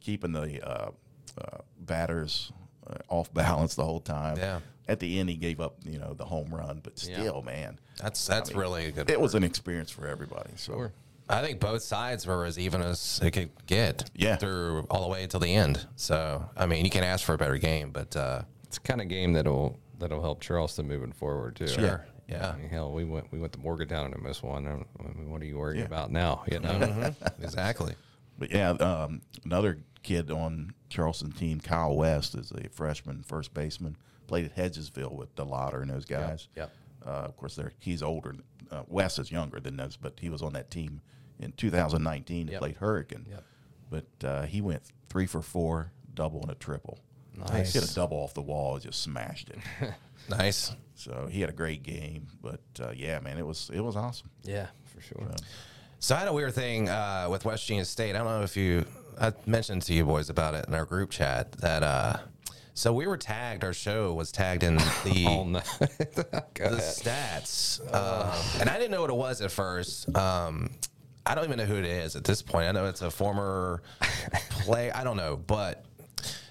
Speaker 2: keeping the uh, uh, batters uh, off balance the whole time.
Speaker 1: Yeah.
Speaker 2: At the end, he gave up, you know, the home run, but still, man,
Speaker 1: That's that's really a good.
Speaker 2: it was an experience for everybody. So
Speaker 3: Sure.
Speaker 1: I think both sides were as even as it could get.
Speaker 2: Yeah.
Speaker 1: Through all the way until the end. So I mean, you can't ask for a better game, but uh,
Speaker 3: It's the kind of game that'll that'll help Charleston moving forward too.
Speaker 1: sure. Yeah.
Speaker 3: I mean, hell, we went we went to Morgantown and almost won. I don't- I mean, what are you worried
Speaker 2: Yeah.
Speaker 3: about now? You know,
Speaker 1: Mm-hmm. Exactly.
Speaker 2: But yeah, um, another kid on Charleston team, Kyle West, is a freshman first baseman. Played at Hedgesville with DeLotter and those guys.
Speaker 3: yep.
Speaker 2: Uh, of course, they're, he's older. Uh, Wes is younger than those, but he was on that team in 2019 that
Speaker 3: Yep.
Speaker 2: played Hurricane.
Speaker 3: Yep.
Speaker 2: But uh, he went three for four, double and a triple.
Speaker 1: Nice.
Speaker 2: Hit a double off the wall, just smashed it.
Speaker 1: Nice.
Speaker 2: so he had a great game. But uh, yeah, man, it was it was awesome.
Speaker 3: yeah, for sure.
Speaker 1: So I had a weird thing uh, with West Virginia State. I don't know if you, I mentioned to you boys about it in our group chat that, uh, so we were tagged, our show was tagged in the,
Speaker 3: All night. Go
Speaker 1: the
Speaker 3: ahead.
Speaker 1: stats. Um, and I didn't know what it was at first. Um, I don't even know who it is at this point. I know it's a former play. I don't know. But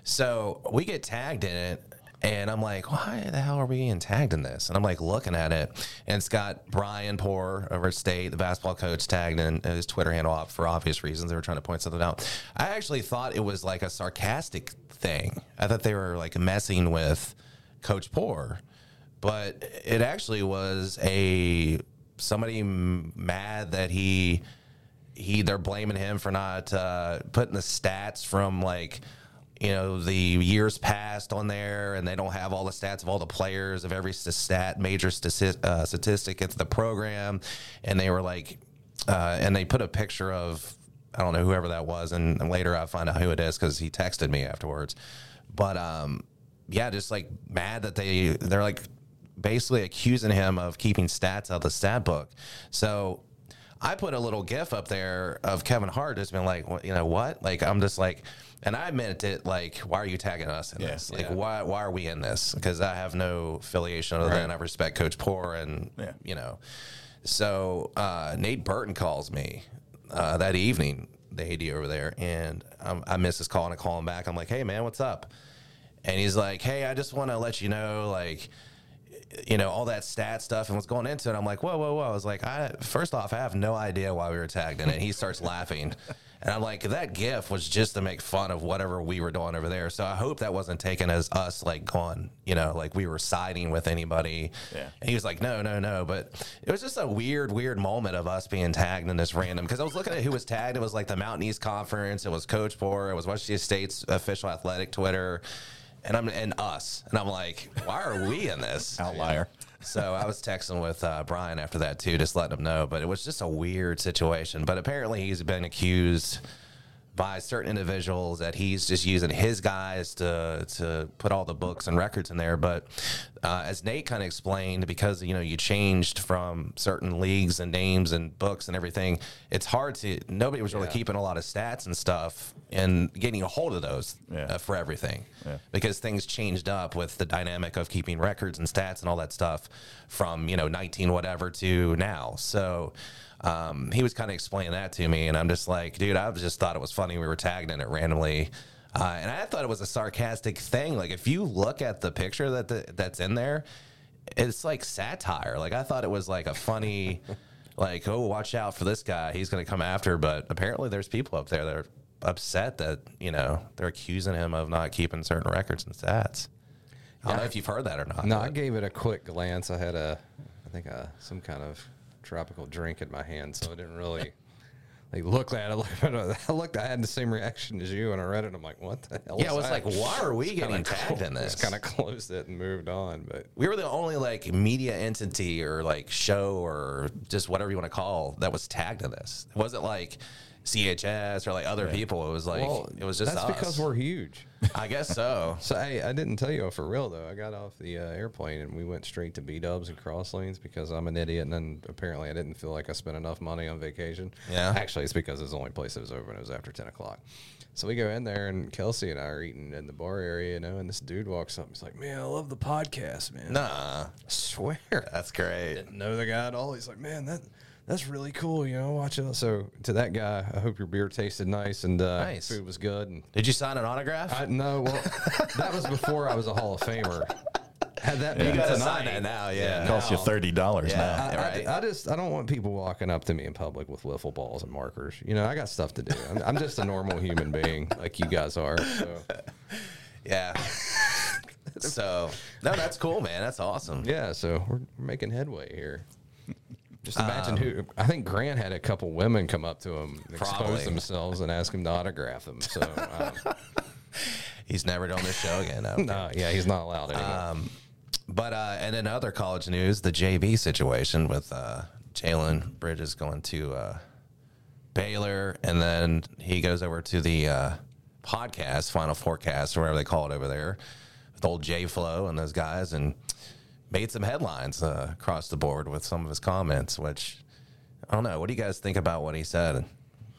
Speaker 1: so we get tagged in it. And I'm like, why the hell are we getting tagged in this? And I'm like looking at it. And it's got Brian Poor over at State, the basketball coach, tagged in uh, his Twitter handle op- for obvious reasons. They were trying to point something out. I actually thought it was like a sarcastic thing. I thought they were like messing with Coach Poor but it actually was a somebody m- mad that he he they're blaming him for not uh, putting the stats from like you know the years past on there and they don't have all the stats of all the players of every st- stat major statistic, uh, statistic into the program and they were like uh, and they put a picture of I don't know whoever that was and, and later I find out who it is because he texted me afterwards but um yeah just like mad that they they're like basically accusing him of keeping stats out of the stat book so I put a little gif up there of Kevin Hart just being like, "What- you know what? Like, I'm just like, and I meant it like, why are you tagging us in
Speaker 2: Yeah.
Speaker 1: this? Like,
Speaker 3: Yeah.
Speaker 1: why why are we in this? Because I have no affiliation other than I respect Coach Poor and,
Speaker 2: Yeah.
Speaker 1: you know. So uh, Nate Burton calls me uh, that evening, the AD over there, and I'm, I miss his call and I call him back. I'm like, hey, man, what's up? And he's like, hey, I just want to let you know, like, you know, all that stat stuff and what's going into it. I'm like, whoa, whoa, whoa. I was like, I first off, I have no idea why we were tagged in it. He starts laughing. And I'm like, that gif was just to make fun of whatever we were doing over there. So I hope that wasn't taken as us like gone, you know, like we were siding with anybody.
Speaker 2: Yeah.
Speaker 1: And he was like, no, no, no. But it was just a weird, weird moment of us being tagged in this random because I was looking at who was tagged. It was like the Mountain East Conference, it was Coach Poor, it was Washington State's official athletic Twitter. And I'm and us, and I'm like, why are we in this?
Speaker 2: Outlier.
Speaker 1: So I was texting with uh, Brian after that too, just letting him know. But it was just a weird situation. But apparently he's been accused by certain individuals that he's just using his guys to to put all the books and records in there. But uh, as Nate kind of explained, because you know you changed from certain leagues and names and books and everything, it's hard to nobody was really keeping a lot of stats and stuff and getting a hold of those
Speaker 2: Yeah.
Speaker 1: uh, for everything
Speaker 2: Yeah.
Speaker 1: because things changed up with the dynamic of keeping records and stats and all that stuff from you know 19 whatever to now so um, he was kind of explaining that to me and i'm just like dude i just thought it was funny we were tagged in it randomly uh, and i thought it was a sarcastic thing like if you look at the picture that the, that's in there it's like satire like i thought it was like a funny like oh watch out for this guy he's going to come after but apparently there's people up there that are upset that you know they're accusing him of not keeping certain records and stats. I don't know if you've heard that or not.
Speaker 3: No, I gave it a quick glance. I had a, I think a, some kind of tropical drink in my hand, so I didn't really like look at it. Look at it. I looked. I had the same reaction as you, and I read it. and I'm like, what the hell?
Speaker 1: yeah, I
Speaker 3: is
Speaker 1: was
Speaker 3: that?
Speaker 1: like, why are we getting tagged in this?
Speaker 3: Just kind of closed it and moved on. But
Speaker 1: we were the only like media entity or like show or just whatever you want to call that was tagged in this. It wasn't like CHS or like other people. It was like
Speaker 3: well,
Speaker 1: it was just
Speaker 3: that's
Speaker 1: us.
Speaker 3: because we're huge.
Speaker 1: I guess so.
Speaker 3: So hey, I didn't tell you for real though. I got off the uh, airplane and we went straight to B Dubs and Cross Lanes because I'm an idiot, and then apparently I didn't feel like I spent enough money on vacation.
Speaker 1: Yeah.
Speaker 3: actually, it's because it's the only place that was open. It was after ten o'clock, so we go in there and Kelsey and I are eating in the bar area, you know. And this dude walks up, he's like, "Man, I love the podcast, man.
Speaker 1: nah,
Speaker 3: I swear,
Speaker 1: that's great.
Speaker 3: didn't know the guy at all. He's like, man, that that's really cool, you know, watching. it." So to that guy, I hope your beer tasted nice and uh,
Speaker 1: Nice.
Speaker 3: food was good. And
Speaker 1: Did you sign an autograph?
Speaker 3: I no, well, that was before I was a Hall of Famer. Had that been
Speaker 1: you got to sign
Speaker 3: tonight,
Speaker 1: that now.
Speaker 2: It
Speaker 1: Yeah.
Speaker 2: costs you thirty dollars now.
Speaker 1: Yeah.
Speaker 3: I, I-
Speaker 1: right.
Speaker 3: I just I don't want people walking up to me in public with wiffle balls and markers. You know, I got stuff to do. I'm, I'm just a normal human being like you guys are. So
Speaker 1: Yeah. So no, that's cool, man. That's awesome.
Speaker 3: Yeah, so we're, we're making headway here. Just imagine who. I think Grant had a couple women come up to him, and
Speaker 1: Um, Probably.
Speaker 3: expose themselves, and ask him to autograph them. So, um,
Speaker 1: He's never done this show again. no.
Speaker 3: no, yeah, he's not allowed anymore.
Speaker 1: But uh, and in other college news, the JV situation with uh, Jalen Bridges going to uh, Baylor, and then he goes over to the uh, podcast, Final Forecast, or whatever they call it over there, with old J Flow and those guys, and made some headlines uh, across the board with some of his comments. Which I don't know. What do you guys think about what he said?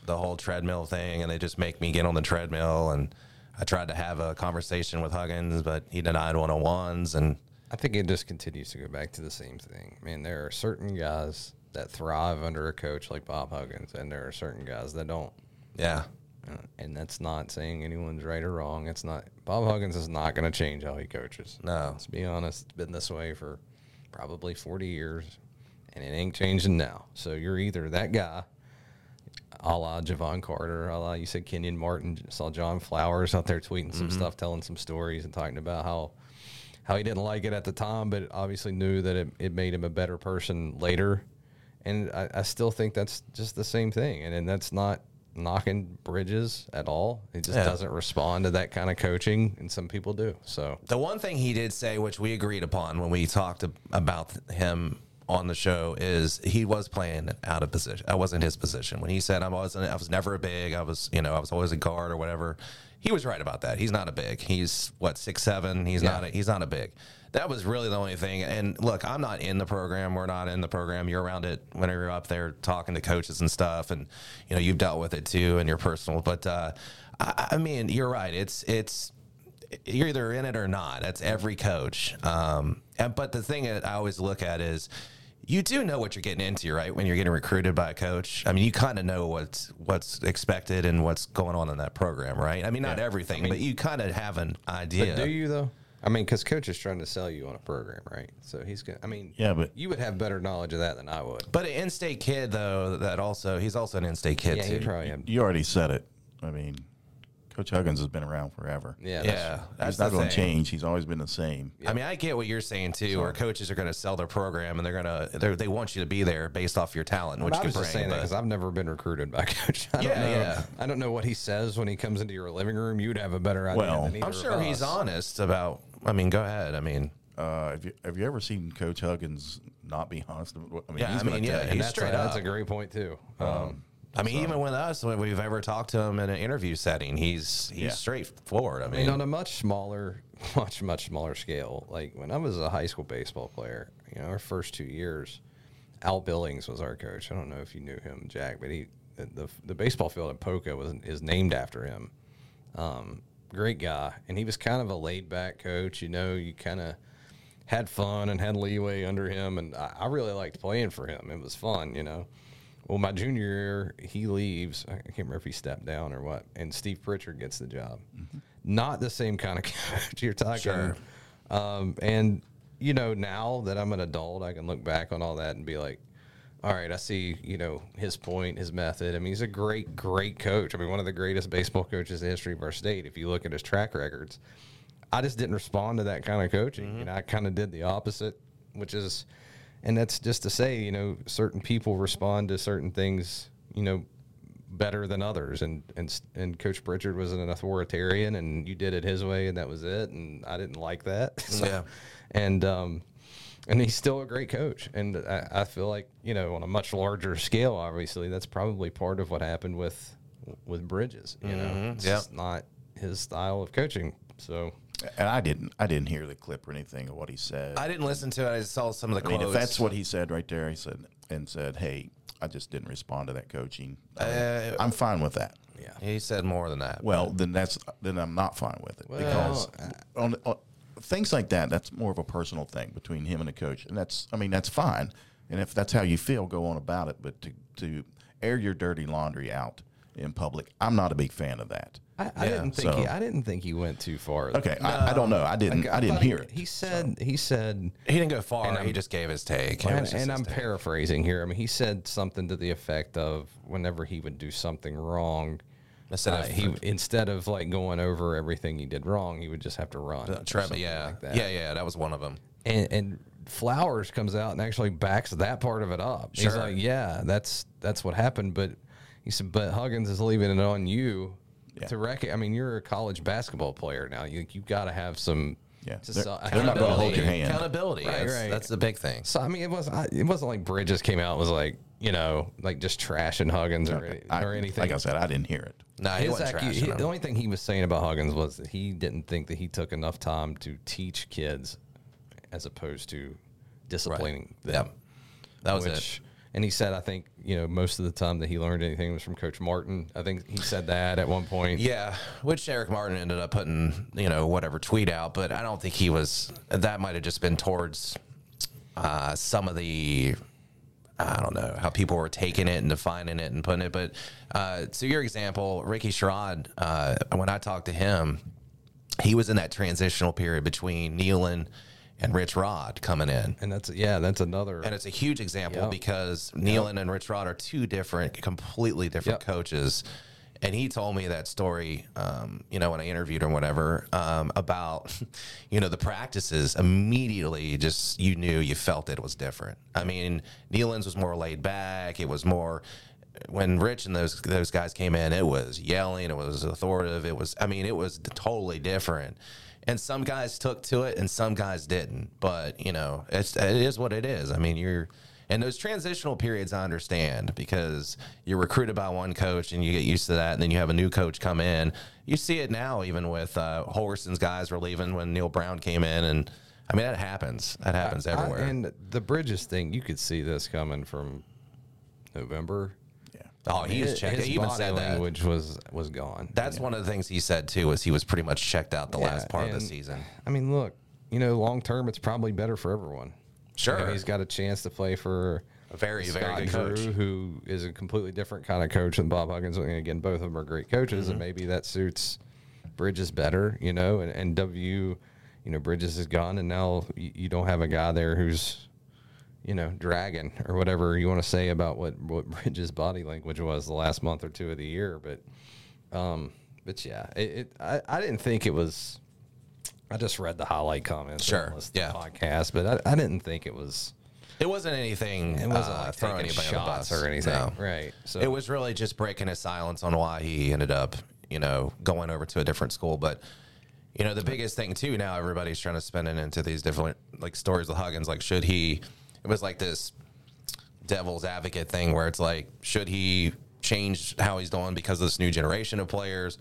Speaker 1: The whole treadmill thing, and they just make me get on the treadmill. And I tried to have a conversation with Huggins, but he denied one on ones and.
Speaker 3: I think it just continues to go back to the same thing. Man, there are certain guys that thrive under a coach like Bob Huggins, and there are certain guys that don't.
Speaker 1: Yeah.
Speaker 3: Uh, And that's not saying anyone's right or wrong. It's not. Bob Huggins is not going to change how he coaches.
Speaker 1: No.
Speaker 3: Let's be honest. It's been this way for probably 40 years, and it ain't changing now. So you're either that guy, a la Javon Carter, a la you said Kenyon Martin. Saw John Flowers out there tweeting some stuff, telling some stories, and talking about how how he didn't like it at the time, but obviously knew that it, it made him a better person later. And I, I still think that's just the same thing. And, and that's not knocking Bridges at all. He just
Speaker 1: Yeah.
Speaker 3: doesn't respond to that kind of coaching, and some people do. So
Speaker 1: The one thing he did say, which we agreed upon when we talked ab- about him on the show, is he was playing out of position. I wasn't his position when he said I wasn't. I was never a big. I was, you know, I was always a guard or whatever. He was right about that. He's not a big. He's what six seven. He's not. A, he's not a big. That was really the only thing. And look, I'm not in the program. We're not in the program. You're around it whenever you're up there talking to coaches and stuff. And you know, you've dealt with it too in your personal. But uh, I, I mean, you're right. It's it's you're either in it or not. That's every coach. Um, and but the thing that I always look at is you do know what you're getting into, right? When you're getting recruited by a coach, I mean, you kind of know what's what's expected and what's going on in that program, right? I mean, not everything, but you kind of have an idea.
Speaker 3: do you though? I mean, because coach is trying to sell you on a program, right? So he's gonna. I mean,
Speaker 2: Yeah, but-
Speaker 3: you would have better knowledge of that than I would.
Speaker 1: But an in-state kid, though, that also he's also an in-state kid
Speaker 3: Yeah,
Speaker 1: too.
Speaker 3: he probably had.
Speaker 2: You already said it. I mean, Coach Huggins has been around forever.
Speaker 3: Yeah, that's-
Speaker 1: yeah,
Speaker 2: He's
Speaker 1: that's
Speaker 2: not
Speaker 1: the
Speaker 2: going to
Speaker 1: thing.
Speaker 2: change. He's always been the same.
Speaker 1: I mean, I get what you're saying too. Where coaches are going to sell their program and they're going to they they want you to be there based off your talent, which
Speaker 3: I
Speaker 1: can
Speaker 3: was
Speaker 1: bring.
Speaker 3: just saying that
Speaker 1: but-
Speaker 3: because I've never been recruited by a coach. I
Speaker 1: Yeah,
Speaker 3: don't know.
Speaker 1: yeah.
Speaker 3: I don't know what he says when he comes into your living room. You'd have a better idea.
Speaker 2: Well,
Speaker 3: than either
Speaker 1: I'm
Speaker 3: of
Speaker 1: sure he's
Speaker 3: us.
Speaker 1: honest about. I mean, go ahead. I mean,
Speaker 2: Uh, have you have you ever seen Coach Huggins not be honest? about what- I mean,
Speaker 1: Yeah,
Speaker 2: he's
Speaker 1: I
Speaker 2: gonna
Speaker 1: mean, yeah,
Speaker 2: tell you.
Speaker 1: he's
Speaker 3: That's
Speaker 1: straight
Speaker 3: a,
Speaker 1: up.
Speaker 3: That's a great point too. Um,
Speaker 1: I mean, even with us, when we've ever talked to him in an interview setting, he's he's
Speaker 2: Yeah.
Speaker 1: straightforward. I
Speaker 3: I mean,
Speaker 1: mean,
Speaker 3: on a much smaller, much much smaller scale. Like when I was a high school baseball player, you know, our first two years, Al Billings was our coach. I don't know if you knew him, Jack, but he the the, the baseball field at Poca was is named after him. Um, great guy, and he was kind of a laid back coach. You know, you kind of had fun and had leeway under him, and I, I really liked playing for him. It was fun, you know. Well, my junior year, he leaves. I can't remember if he stepped down or what, and Steve Pritchard gets the job. Not the same kind of coach you're talking.
Speaker 1: Sure.
Speaker 3: Um, and you know, now that I'm an adult, I can look back on all that and be like, all right, I see. You know, his point, his method. I mean, he's a great, great coach. I mean, one of the greatest baseball coaches in the history of our state. If you look at his track records, I just didn't respond to that kind of coaching.
Speaker 1: Mm-hmm.
Speaker 3: You know, I kind of did the opposite, which is, and that's just to say, you know, certain people respond to certain things, you know, better than others. And and and Coach Pritchard was an authoritarian, and you did it his way, and that was it. And I didn't like that. So-
Speaker 1: Yeah.
Speaker 3: And um, and he's still a great coach. And I, I feel like you know, on a much larger scale, obviously, that's probably part of what happened with with Bridges. You know, it's
Speaker 1: Mm-hmm. Yeah.
Speaker 3: just not his style of coaching. So
Speaker 2: And I didn't I didn't hear the clip or anything of what he said.
Speaker 1: I didn't listen to it. I just saw some of the
Speaker 2: I mean, if
Speaker 1: quotes.
Speaker 2: that's what he said right there, he said and said, "Hey, I just didn't respond to that coaching. I
Speaker 1: Uh,
Speaker 2: mean, I'm fine with that."
Speaker 1: he said, more than that.
Speaker 2: Well, then that's then I'm not fine with it because on, on things like that, that's more of a personal thing between him and the coach, and that's I mean that's fine, and if that's how you feel, go on about it. But to to air your dirty laundry out in public, I'm not a big fan of that.
Speaker 3: I, I didn't think
Speaker 2: so-
Speaker 3: he, I didn't think he went too far. though.
Speaker 2: Okay, I, I don't know. I didn't. I, didn't
Speaker 3: thought he-
Speaker 2: hear it.
Speaker 3: He said he said,
Speaker 1: he didn't go far. He just gave his take. It was
Speaker 3: and,
Speaker 1: just
Speaker 3: and
Speaker 1: his
Speaker 3: I'm
Speaker 1: take.
Speaker 3: paraphrasing here. I mean, he said something to the effect of, "Whenever he would do something wrong,
Speaker 1: Instead
Speaker 3: uh,
Speaker 1: of
Speaker 3: he instead of like going over everything he did wrong, he would just have to run.
Speaker 1: uh,
Speaker 3: or
Speaker 1: Trevor-
Speaker 3: something
Speaker 1: yeah,
Speaker 3: like that.
Speaker 1: yeah, yeah. That was one of them.
Speaker 3: and and Flowers comes out and actually backs that part of it up. He's
Speaker 1: Sure.
Speaker 3: like, "Yeah, that's that's what happened," but he said, "But Huggins is leaving it on you
Speaker 2: Yeah.
Speaker 3: to reckon." I mean, you're a college basketball player now. You you got to have some.
Speaker 2: Yeah,
Speaker 3: soci-
Speaker 2: they're- they're not gonna hold your
Speaker 3: accountability.
Speaker 2: hand.
Speaker 1: Accountability.
Speaker 3: Right,
Speaker 1: that's,
Speaker 3: right.
Speaker 1: that's the big thing.
Speaker 3: So I mean, it was I, it wasn't like Bridges came out and was like you know like just trashing Huggins or, any-
Speaker 2: I,
Speaker 3: or anything.
Speaker 2: Like I said, I didn't hear it.
Speaker 1: No, he
Speaker 3: His
Speaker 1: wasn't
Speaker 3: accu- he-
Speaker 1: trashing him.
Speaker 3: the only thing he was saying about Huggins was that he didn't think that he took enough time to teach kids as opposed to disciplining them.
Speaker 1: Yeah, that was
Speaker 3: which, And he said, I think, you know, most of the time that he learned anything was from Coach Martin. I think he said that at one point.
Speaker 1: it. Yeah, which Eric Martin ended up putting, you know, whatever tweet out, but I don't think he was. That might have just been towards uh, some of the, I don't know, how people were taking it and defining it and putting it. But uh, to your example, Ricky Sherrod, uh, when I talked to him, he was in that transitional period between Nealon and Rich Rod coming in.
Speaker 3: And that's, yeah, that's another.
Speaker 1: And it's a huge example
Speaker 3: Yep.
Speaker 1: because Nealon and Rich Rod are two different, completely different
Speaker 3: Yep.
Speaker 1: coaches. And he told me that story, um, you know, when I interviewed him, whatever, um, about, you know, the practices immediately just you knew, you felt it was different. I mean, Nealon's was more laid back. It was more when Rich and those those guys came in, it was yelling, it was authoritative, it was I mean, it was totally different. And some guys took to it and some guys didn't. But, you know, it's it is what it is. I mean, you're and those transitional periods I understand because you're recruited by one coach and you get used to that and then you have a new coach come in. You see it now even with uh Holgerson's guys were leaving when Neil Brown came in and I mean that happens. That happens
Speaker 3: I-
Speaker 1: everywhere.
Speaker 3: uh, and the Bridges thing, you could see this coming from November.
Speaker 2: Yeah.
Speaker 1: oh, he was
Speaker 3: His-
Speaker 1: checked.
Speaker 3: His
Speaker 1: He even
Speaker 3: body
Speaker 1: said that.
Speaker 3: language was was gone.
Speaker 1: That's one of the things he said too, is he was pretty much checked out the
Speaker 3: Yeah,
Speaker 1: last part of the
Speaker 3: and-
Speaker 1: season.
Speaker 3: I mean, look, you know, long term, it's probably better for everyone. You know,
Speaker 1: Sure.
Speaker 3: he's got a chance to play for
Speaker 1: A very, very
Speaker 3: Scott
Speaker 1: good
Speaker 3: Drew,
Speaker 1: coach.
Speaker 3: who is a completely different kind of coach than Bob Huggins. And again, both of them are great coaches,
Speaker 1: Mm-hmm.
Speaker 3: and maybe that suits Bridges better, you know. And, and W, you know, Bridges is gone, and now you, you don't have a guy there who's, you know, dragging or whatever you want to say about what what Bridges' body language was the last month or two of the year. But, um, but yeah, it, it I, I didn't think it was. I just read the highlight comments.
Speaker 1: Sure,
Speaker 3: and listened to
Speaker 1: yeah.
Speaker 3: the podcast, but I, I didn't think it was.
Speaker 1: It wasn't anything.
Speaker 3: It wasn't
Speaker 1: uh,
Speaker 3: like
Speaker 1: throwing
Speaker 3: taking
Speaker 1: anybody on the
Speaker 3: shots
Speaker 1: bus.
Speaker 3: or anything,
Speaker 1: No.
Speaker 3: right? So
Speaker 1: It was really just breaking his silence on why he ended up, you know, going over to a different school. But you know, the biggest thing too now, everybody's trying to spin it into these different like stories with Huggins. Like, should he? It was like this devil's advocate thing where it's like, should he change how he's doing because of this new generation of players,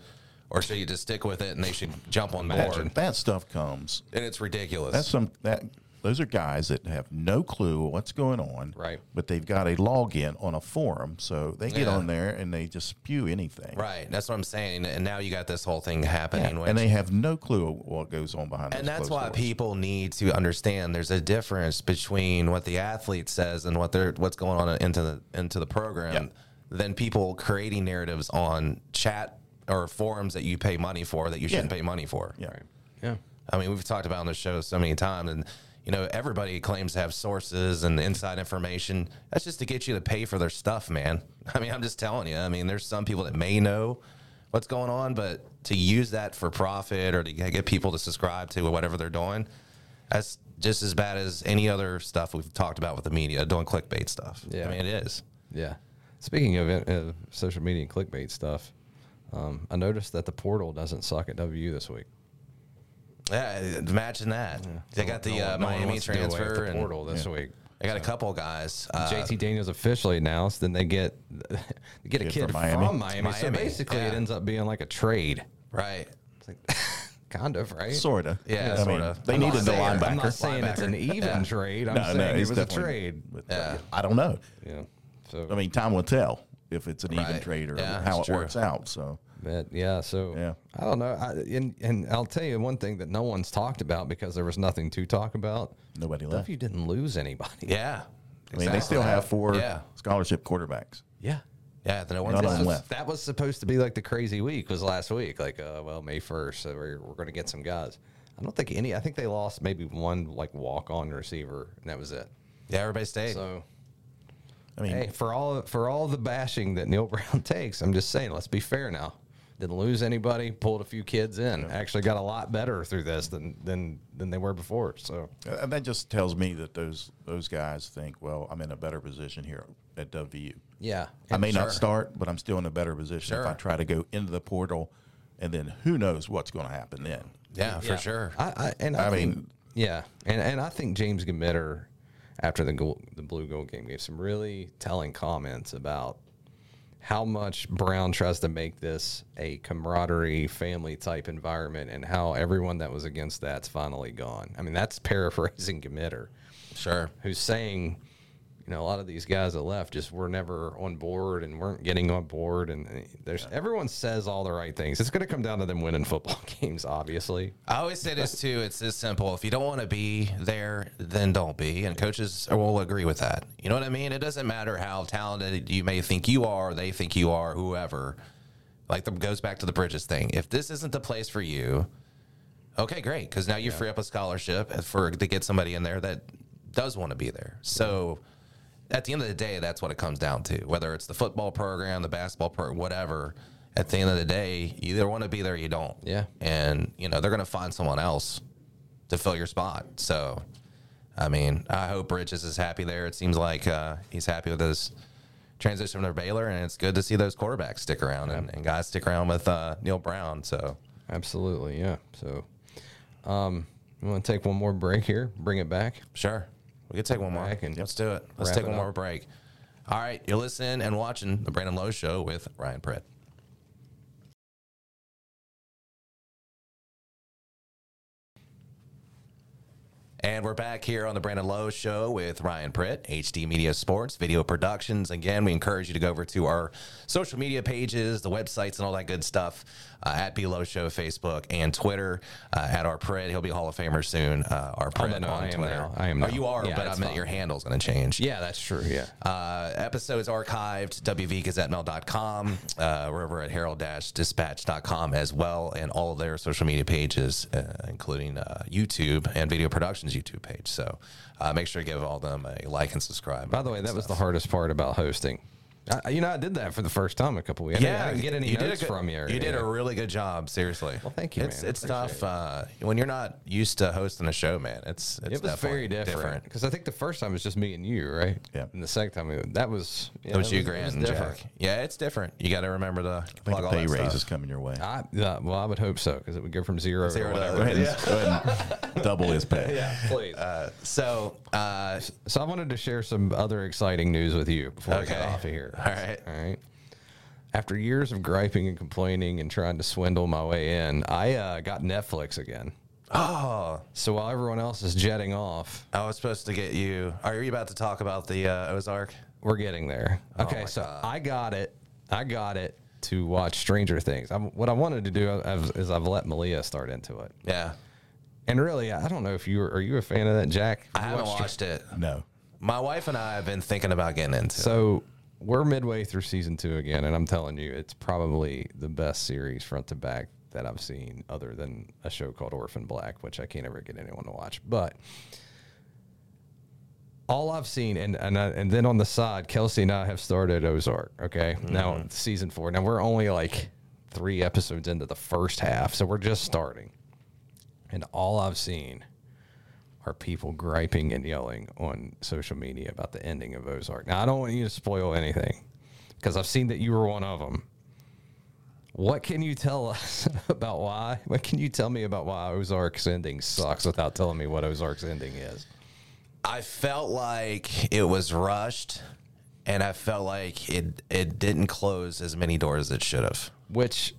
Speaker 1: or should he just stick with it and they should jump on board?
Speaker 2: That stuff comes.
Speaker 1: And it's ridiculous.
Speaker 2: That's some that those are guys that have no clue what's going on.
Speaker 3: Right.
Speaker 2: But they've got a login on a forum, so they get
Speaker 1: Yeah.
Speaker 2: on there and they just spew anything.
Speaker 1: Right, that's what I'm saying, and now you got this whole thing happening. which-
Speaker 2: And they have no clue what goes on behind.
Speaker 1: and
Speaker 2: those
Speaker 1: that's
Speaker 2: closed
Speaker 1: why
Speaker 2: doors.
Speaker 1: people need to understand there's a difference between what the athlete says and what they're what's going on into the into the program
Speaker 2: Yeah.
Speaker 1: than people creating narratives on chat or forums that you pay money for that you shouldn't
Speaker 2: Yeah.
Speaker 1: pay money for.
Speaker 2: Yeah.
Speaker 3: yeah.
Speaker 1: I mean, we've talked about on the show so many times, and you know, everybody claims to have sources and inside information. That's just to get you to pay for their stuff, man. I mean, I'm just telling you. I mean, there's some people that may know what's going on, but to use that for profit or to get get people to subscribe to whatever they're doing, that's just as bad as any other stuff we've talked about with the media doing clickbait stuff.
Speaker 3: Yeah.
Speaker 1: I mean, it is.
Speaker 3: Yeah. Speaking of it, uh, social media and clickbait stuff, um, I noticed that the portal doesn't suck at WU this week.
Speaker 1: Yeah, uh, imagine that. They got the uh,
Speaker 3: No one
Speaker 1: Miami
Speaker 3: wants to do away with
Speaker 1: transfer
Speaker 3: the
Speaker 1: and
Speaker 3: portal this week.
Speaker 1: they got a couple guys. Uh,
Speaker 3: JT Daniels officially announced, then they get they get a
Speaker 2: Kid
Speaker 3: kid
Speaker 2: from Miami.
Speaker 3: from Miami. So
Speaker 1: Miami,
Speaker 3: basically, it
Speaker 1: yeah.
Speaker 3: ends up being like a trade.
Speaker 1: Right.
Speaker 3: It's like kind of right.
Speaker 2: Sorta.
Speaker 1: Yeah,
Speaker 2: I mean,
Speaker 1: sorta.
Speaker 2: they
Speaker 1: I'm
Speaker 2: needed
Speaker 1: not
Speaker 2: the
Speaker 1: saying- I'm
Speaker 2: linebacker.
Speaker 3: I'm not saying it's an even trade. I'm saying it
Speaker 2: he's
Speaker 3: was a
Speaker 2: definitely-
Speaker 3: trade.
Speaker 2: with-
Speaker 1: Yeah.
Speaker 2: uh, I don't know.
Speaker 3: Yeah. So
Speaker 2: I mean, time will tell if it's an even
Speaker 1: Right.
Speaker 2: trade or
Speaker 1: Yeah,
Speaker 2: how it
Speaker 1: that's true.
Speaker 2: works out. So
Speaker 3: But yeah, so
Speaker 2: Yeah.
Speaker 3: I don't know. I, and and I'll tell you one thing that no one's talked about because there was nothing to talk about.
Speaker 2: nobody left.
Speaker 3: W didn't lose anybody.
Speaker 1: Yeah.
Speaker 2: I mean, they still have four
Speaker 1: Yeah.
Speaker 2: scholarship quarterbacks.
Speaker 3: Yeah.
Speaker 1: Yeah. The no one's
Speaker 2: None of them
Speaker 1: left.
Speaker 2: left.
Speaker 3: That was supposed to be like the crazy week was last week. Like, uh, well, May first, so we're, we're going to get some guys. I don't think any. I think they lost maybe one like walk on receiver, and that was it.
Speaker 1: Yeah. Everybody stayed.
Speaker 3: So
Speaker 2: I mean,
Speaker 3: hey, for all for all the bashing that Neil Brown takes, I'm just saying, let's be fair now. Didn't lose anybody. Pulled a few kids in. Actually, got a lot better through this than than than they were before. So
Speaker 2: And uh, that just tells me that those those guys think, well, I'm in a better position here at WU.
Speaker 3: yeah,
Speaker 2: I may
Speaker 1: Sure.
Speaker 2: not start, but I'm still in a better position if I
Speaker 1: Sure.
Speaker 2: try to go into the portal, and then who knows what's going to happen then.
Speaker 1: Yeah, for sure.
Speaker 3: I, I and I,
Speaker 2: I
Speaker 3: mean,
Speaker 2: mean-
Speaker 3: yeah, and and I think James Gemitter, after the goal, the blue gold game, gave some really telling comments about how much Brown tries to make this a camaraderie, family type environment, and how everyone that was against that's finally gone. I mean, that's paraphrasing Gemitter,
Speaker 1: Sure.
Speaker 3: who's saying. You know, a lot of these guys that left just were never on board and weren't getting on board. And uh, there's everyone says all the right things. It's going to come down to them winning football games, obviously.
Speaker 1: I always say this too. It's this simple. If you don't want to be there, then don't be. And coaches will agree with that. You know what I mean? It doesn't matter how talented you may think you are, they think you are, whoever. Like the goes back to the Bridges thing. If this isn't the place for you, okay, great. Because now you free up a scholarship for to get somebody in there that does want to be there. So at the end of the day, that's what it comes down to. Whether it's the football program, the basketball program, whatever. At the end of the day, you either want to be there or you don't.
Speaker 3: Yeah.
Speaker 1: And, you know, they're going to find someone else to fill your spot. So, I mean, I hope Bridges is happy there. It seems like uh, he's happy with his transition from Baylor, and it's good to see those quarterbacks stick around and, and guys stick around with uh, Neil Brown. So,
Speaker 3: Absolutely, yeah. So, um, you want to take one more break here, bring it back.
Speaker 1: Sure. We could take one more.
Speaker 3: I can
Speaker 1: Let's do it. Let's
Speaker 3: wrap
Speaker 1: take
Speaker 3: it
Speaker 1: one
Speaker 3: up.
Speaker 1: more break. All right. You're listening and watching The Brandon Lowe Show with Ryan Pritt. And we're back here on The Brandon Lowe Show with Ryan Pritt, HD Media Sports, Video Productions. Again, we encourage you to go over to our social media pages, the websites, and all that good stuff uh, at B Lowe Show, Facebook, and Twitter uh, at our Pritt. He'll be a Hall of Famer soon. Uh, our Pritt
Speaker 3: no,
Speaker 1: on
Speaker 3: I am
Speaker 1: Twitter.
Speaker 3: now. I am
Speaker 1: Oh,
Speaker 3: now.
Speaker 1: you are,
Speaker 3: Yeah,
Speaker 1: but I
Speaker 3: that's
Speaker 1: meant
Speaker 3: fine.
Speaker 1: your handle's going to change.
Speaker 3: Yeah, that's true. Yeah,
Speaker 1: Uh, episodes archived, wvgazettemel.com. Uh, we're over at herald-dispatch.com as well, and all their social media pages, uh, including uh, YouTube and Video Productions YouTube page. So uh, make sure to give all them a like and subscribe.
Speaker 3: By the way, that was the hardest part about hosting. I, you know, I did that for the first time a couple weeks. Yeah, I didn't get any
Speaker 1: you did a
Speaker 3: notes
Speaker 1: good-
Speaker 3: from you. or
Speaker 1: You did a
Speaker 3: anything.
Speaker 1: really good job, seriously.
Speaker 3: Well, thank you,
Speaker 1: It's
Speaker 3: man.
Speaker 1: it's
Speaker 3: Appreciate
Speaker 1: tough uh, when you're not used to hosting a show, man. It's, it's
Speaker 3: It was
Speaker 1: definitely
Speaker 3: very different because I think the first time was just me and you, right?
Speaker 2: Yeah.
Speaker 3: And the second time it- that was yeah,
Speaker 1: It was you,
Speaker 3: it was
Speaker 1: Grant, and
Speaker 3: different.
Speaker 1: Jack. Yeah, it's different. You got to remember to
Speaker 2: I
Speaker 1: plug
Speaker 2: think a
Speaker 1: all
Speaker 2: pay
Speaker 1: that
Speaker 2: raise
Speaker 1: stuff.
Speaker 2: is coming your way.
Speaker 3: I, uh, well, I would hope so because it would go from zero,
Speaker 1: Zero to-
Speaker 3: to whatever.
Speaker 2: Go ahead, and- go ahead and double his pay.
Speaker 3: Yeah, please.
Speaker 1: So, uh,
Speaker 3: so I wanted to share some other exciting news with you before we get
Speaker 1: Okay.
Speaker 3: off of here.
Speaker 1: All right.
Speaker 3: All right. After years of griping and complaining and trying to swindle my way in, I uh, got Netflix again.
Speaker 1: oh,
Speaker 3: So while everyone else is jetting off,
Speaker 1: I was supposed to get you. Are you about to talk about the uh, Ozark?
Speaker 3: we're getting there.
Speaker 1: Oh
Speaker 3: Okay, so I got it. I got it to watch Stranger Things. I'm, what I wanted to do is- is I've let Malia start into it.
Speaker 1: Yeah,
Speaker 3: And really, I don't know if you were, are you a fan of that, Jack?
Speaker 1: I haven't watched it.
Speaker 2: No.
Speaker 1: My wife and I have been thinking about getting into. it.
Speaker 3: So we're midway through season two again, and I'm telling you, it's probably the best series front to back that I've seen, other than a show called Orphan Black, which I can't ever get anyone to watch. But all I've seen, and and, I, and then on the side, Kelsey and I have started Ozark. Okay, now season four. Now we're only like three episodes into the first half, so we're just starting, and all I've seen are people griping and yelling on social media about the ending of Ozark. Now, I don't want you to spoil anything because I've seen that you were one of them. What can you tell us about why? What can you tell me about why Ozark's ending sucks without telling me what Ozark's ending is?
Speaker 1: I felt like it was rushed, and I felt like it it didn't close as many doors as it should have.
Speaker 3: Which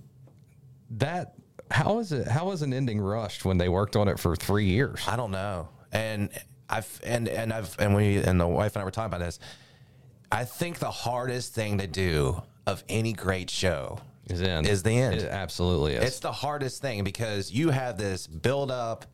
Speaker 3: that how is it how is an ending rushed when they worked on it for three years?
Speaker 1: I don't know. And I've and and I've and we and the wife and I were talking about this. I think the hardest thing to do of any great show
Speaker 3: Is the end
Speaker 1: Is the end.
Speaker 3: It absolutely is.
Speaker 1: It's the hardest thing because you have this build up.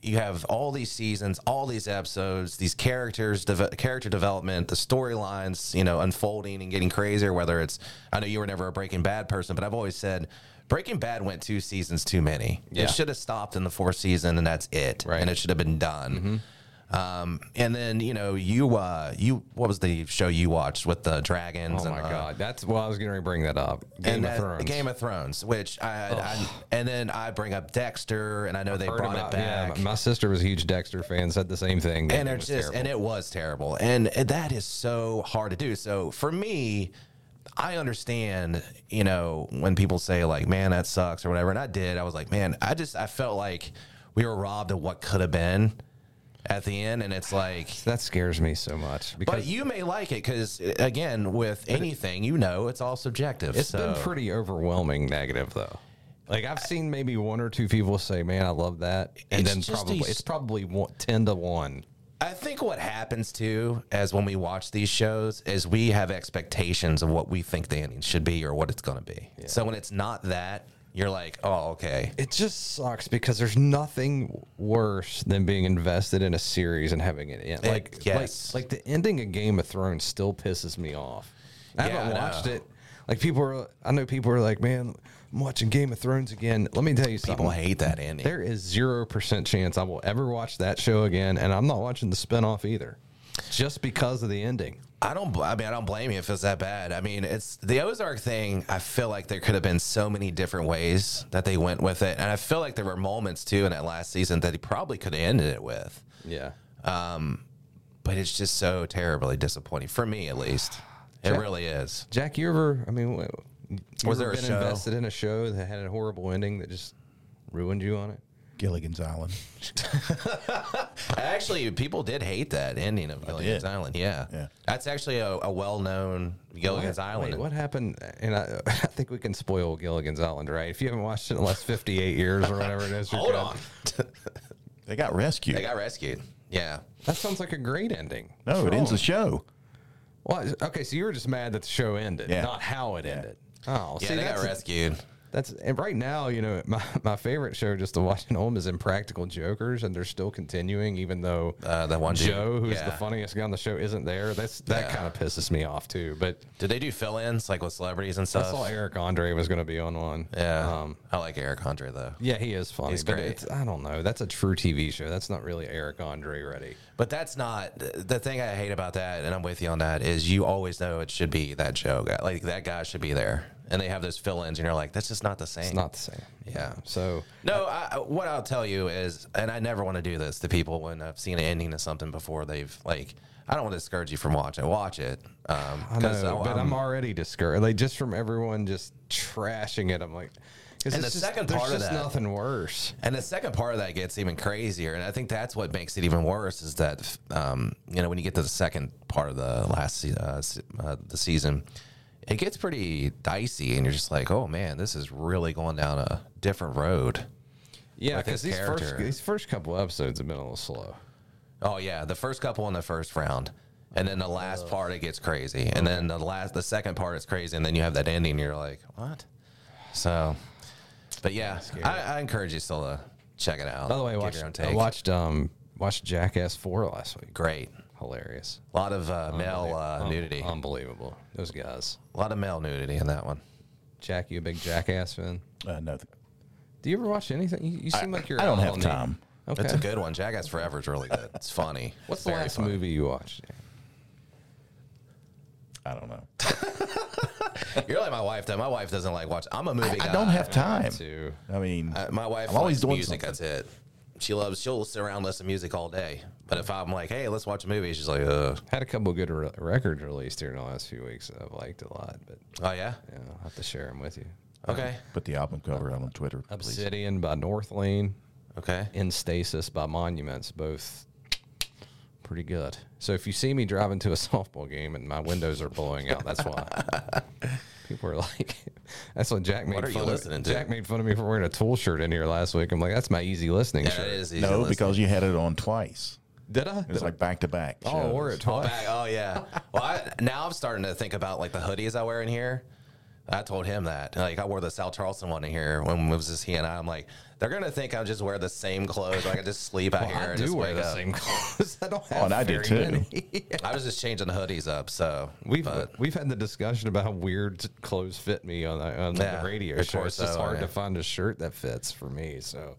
Speaker 1: You have all these seasons, all these episodes, these characters, deve- character development, the storylines, you know, unfolding and getting crazier. Whether it's, I know you were never a Breaking Bad person, but I've always said Breaking Bad went two seasons too many.
Speaker 3: Yeah.
Speaker 1: It should have stopped in the fourth season, and that's it.
Speaker 3: Right. Mm-hmm.
Speaker 1: And it should have been done. Um, and then you know you uh, you what was the show you watched with the dragons?
Speaker 3: Oh my
Speaker 1: and uh, the-
Speaker 3: god, that's well. I was going to bring that up. Game
Speaker 1: and
Speaker 3: of
Speaker 1: that-
Speaker 3: Thrones.
Speaker 1: Game of Thrones, which I, had I and then I bring up Dexter, and I know they
Speaker 3: Heard
Speaker 1: brought
Speaker 3: about-
Speaker 1: it back.
Speaker 3: Yeah, my sister was a huge Dexter fan. Said the same thing. that
Speaker 1: and
Speaker 3: it
Speaker 1: it's
Speaker 3: was
Speaker 1: just
Speaker 3: terrible.
Speaker 1: and it was terrible and that is so hard to do so for me i understand you know when people say like man that sucks or whatever and i did i was like man i just i felt like we were robbed of what could have been at the end and it's like
Speaker 3: that scares me so much because
Speaker 1: but you may like it because again with anything you know it's all subjective
Speaker 3: It's
Speaker 1: so
Speaker 3: been pretty overwhelming negative though. Like I've seen maybe one or two people say, "Man, I love that," and
Speaker 1: It's
Speaker 3: then
Speaker 1: just
Speaker 3: probably
Speaker 1: these-
Speaker 3: it's probably one, ten to one.
Speaker 1: I think what happens too, as when we watch these shows, is we have expectations of what we think the ending should be or what it's going to be. So when it's not that, you're like, oh, okay.
Speaker 3: It just sucks because there's nothing worse than being invested in a series and having it end. Like,
Speaker 1: yes.
Speaker 3: like, like the ending of Game of Thrones still pisses me off. I
Speaker 1: Yeah,
Speaker 3: haven't
Speaker 1: I
Speaker 3: watched
Speaker 1: know.
Speaker 3: it. Like people are, I know people are like, "Man, I'm watching Game of Thrones again." Let me tell you something.
Speaker 1: People hate that ending.
Speaker 3: there is zero percent chance I will ever watch that show again, and I'm not watching the spinoff either, just because of the ending.
Speaker 1: I don't. bl- I mean, I don't blame you if it's that bad. I mean, it's the Ozark thing. I feel like there could have been so many different ways that they went with it, and I feel like there were moments too in that last season that he probably could have ended it with.
Speaker 3: Yeah.
Speaker 1: But it's just so terribly disappointing for me, at least. It really is.
Speaker 3: Jack, you ever? I mean, w- you
Speaker 1: Was there
Speaker 3: ever
Speaker 1: a
Speaker 3: been
Speaker 1: show?
Speaker 3: invested in a show that had a horrible ending that just ruined you on it?
Speaker 2: Gilligan's Island.
Speaker 1: Actually, people did hate that ending of Gilligan's
Speaker 2: did.
Speaker 1: Island. Yeah.
Speaker 2: Yeah.
Speaker 1: That's actually a, a well known Gilligan's Island.
Speaker 3: Wait, what happened? And I, I think we can spoil Gilligan's Island, right? If you haven't watched it in the last 58 years or whatever it is, you're
Speaker 1: Hold
Speaker 3: good.
Speaker 1: on.
Speaker 2: They got rescued.
Speaker 1: They got rescued. Yeah.
Speaker 3: That sounds like a great ending.
Speaker 2: no, it ends the show.
Speaker 3: Well, okay, so you were just mad that the show ended,
Speaker 2: Yeah.
Speaker 3: not how it ended. Oh,
Speaker 1: Yeah,
Speaker 3: see,
Speaker 1: they got
Speaker 3: that's,
Speaker 1: rescued.
Speaker 3: That's and right now, you know, my, my favorite show just to watch at home is Impractical Jokers, and they're still continuing, even though
Speaker 1: Uh, that one dude,
Speaker 3: Joe, who's the
Speaker 1: yeah.
Speaker 3: funniest guy on the show, isn't there. That's that
Speaker 1: Yeah.
Speaker 3: kind of pisses me off too. But
Speaker 1: Did they do fill ins like with celebrities and
Speaker 3: I saw
Speaker 1: stuff?
Speaker 3: Eric Andre was going to be on one.
Speaker 1: Yeah.
Speaker 3: um,
Speaker 1: I like Eric Andre though.
Speaker 3: yeah, he is funny.
Speaker 1: He's
Speaker 3: but
Speaker 1: great.
Speaker 3: It's, I don't know. That's a true TV show. That's not really Eric Andre ready.
Speaker 1: But that's not the thing I hate about that, and I'm with you on that, is you always know it should be that Joe guy. Like that guy should be there. And they have those fill ins, and you're like, that's just not the same.
Speaker 3: It's not the same.
Speaker 1: Yeah.
Speaker 3: So
Speaker 1: No, I, I- what I'll tell you is, and I never want to do this to people when I've seen an ending to something before they've like. I don't want to discourage you from watching. Watch it. Um,
Speaker 3: I
Speaker 1: 'cause
Speaker 3: know,
Speaker 1: I-
Speaker 3: but
Speaker 1: I'm-
Speaker 3: I'm already discouraged. Like just from everyone just trashing it, I'm like, 'cause
Speaker 1: And
Speaker 3: it's
Speaker 1: the
Speaker 3: just-
Speaker 1: second
Speaker 3: there's
Speaker 1: part of
Speaker 3: just
Speaker 1: that-
Speaker 3: nothing worse.
Speaker 1: and the second part of that gets even crazier, and I think that's what makes it even worse. Is that um, you know when you get to the second part of the last se- uh, se- uh, the season, it gets pretty dicey, and you're just like, oh man, this is really going down a different road.
Speaker 3: Yeah,
Speaker 1: with
Speaker 3: because
Speaker 1: his
Speaker 3: these first
Speaker 1: character.
Speaker 3: these first couple episodes have been a little slow.
Speaker 1: Oh yeah, the first couple in the first round, and then the last part it gets crazy, and then the last the second part is crazy, and then you have that ending. and You're like, what? So, but yeah, I, I encourage you still to check it out.
Speaker 3: By the way, I
Speaker 1: Give
Speaker 3: watched,
Speaker 1: your own
Speaker 3: I
Speaker 1: take.
Speaker 3: watched um watched Jackass four last week.
Speaker 1: Great,
Speaker 3: Hilarious.
Speaker 1: a lot of uh, male uh,
Speaker 3: Um,
Speaker 1: nudity, a
Speaker 3: Unbelievable. Those guys.
Speaker 1: lot of male nudity in that one.
Speaker 3: Jack, you a big Jackass fan?
Speaker 2: Uh, no, th-
Speaker 3: Do you ever watch anything? You, you seem like you're.
Speaker 2: I don't
Speaker 3: out
Speaker 2: have
Speaker 3: on the-
Speaker 2: time.
Speaker 3: Okay.
Speaker 1: It's a good one. Jackass Forever is really good. It's funny.
Speaker 3: What's the
Speaker 1: Very
Speaker 3: last
Speaker 1: funny.
Speaker 3: movie you watched?
Speaker 2: I don't know.
Speaker 1: You're like my wife though. My wife doesn't like watch. I'm a movie. guy.
Speaker 2: I don't have time.
Speaker 3: To
Speaker 2: I mean,
Speaker 1: Uh, my wife
Speaker 2: I'm always
Speaker 1: likes
Speaker 2: doing
Speaker 1: music.
Speaker 2: something.
Speaker 1: That's it. She loves. She'll sit around and listen to music all day. But if I'm like, hey, let's watch a movie, she's like, "Uh, Ugh.
Speaker 3: had a couple good re- records released here in the last few weeks that I've liked a lot, but
Speaker 1: oh yeah,
Speaker 3: you know, I'll have to share them with you.
Speaker 1: okay,
Speaker 2: put the album cover out on Twitter, please.
Speaker 3: Obsidian by North Lane,
Speaker 1: okay.
Speaker 3: In Stasis by Monuments, both pretty good. So if you see me driving to a softball game and my windows are blowing out, that's why. People are like, that's what Jack made
Speaker 1: What are you
Speaker 3: fun
Speaker 1: listening
Speaker 3: of.
Speaker 1: to?
Speaker 3: Jack made fun of me for wearing a Tool shirt in here last week. I'm like, that's my easy listening
Speaker 1: Yeah,
Speaker 3: shirt.
Speaker 1: it is easy.
Speaker 2: No,
Speaker 1: listening.
Speaker 2: because you had it on twice.
Speaker 3: Did I?
Speaker 2: It was like back to back.
Speaker 3: oh, I wore it
Speaker 1: Oh,
Speaker 3: twice.
Speaker 1: back- oh, yeah. Well, I, now I'm starting to think about like the hoodies I wear in here. I told him that. Like I wore the Sal Charlton one in here when it was just he and I. I'm like, they're gonna think I just wear the same clothes. Like I just sleep out here
Speaker 3: I
Speaker 1: and
Speaker 3: do
Speaker 1: just
Speaker 3: wear
Speaker 1: wake
Speaker 3: the
Speaker 1: up.
Speaker 3: same clothes. I don't have
Speaker 2: Oh, and I do
Speaker 3: very
Speaker 2: too.
Speaker 3: many.
Speaker 1: I was just changing the hoodies up. So
Speaker 3: We've
Speaker 1: but-
Speaker 3: we've had the discussion about how weird clothes fit me on the, on
Speaker 1: Yeah,
Speaker 3: the radio
Speaker 1: your
Speaker 3: show. It's just
Speaker 1: torso,
Speaker 3: hard
Speaker 1: yeah.
Speaker 3: to find a shirt that fits for me. So,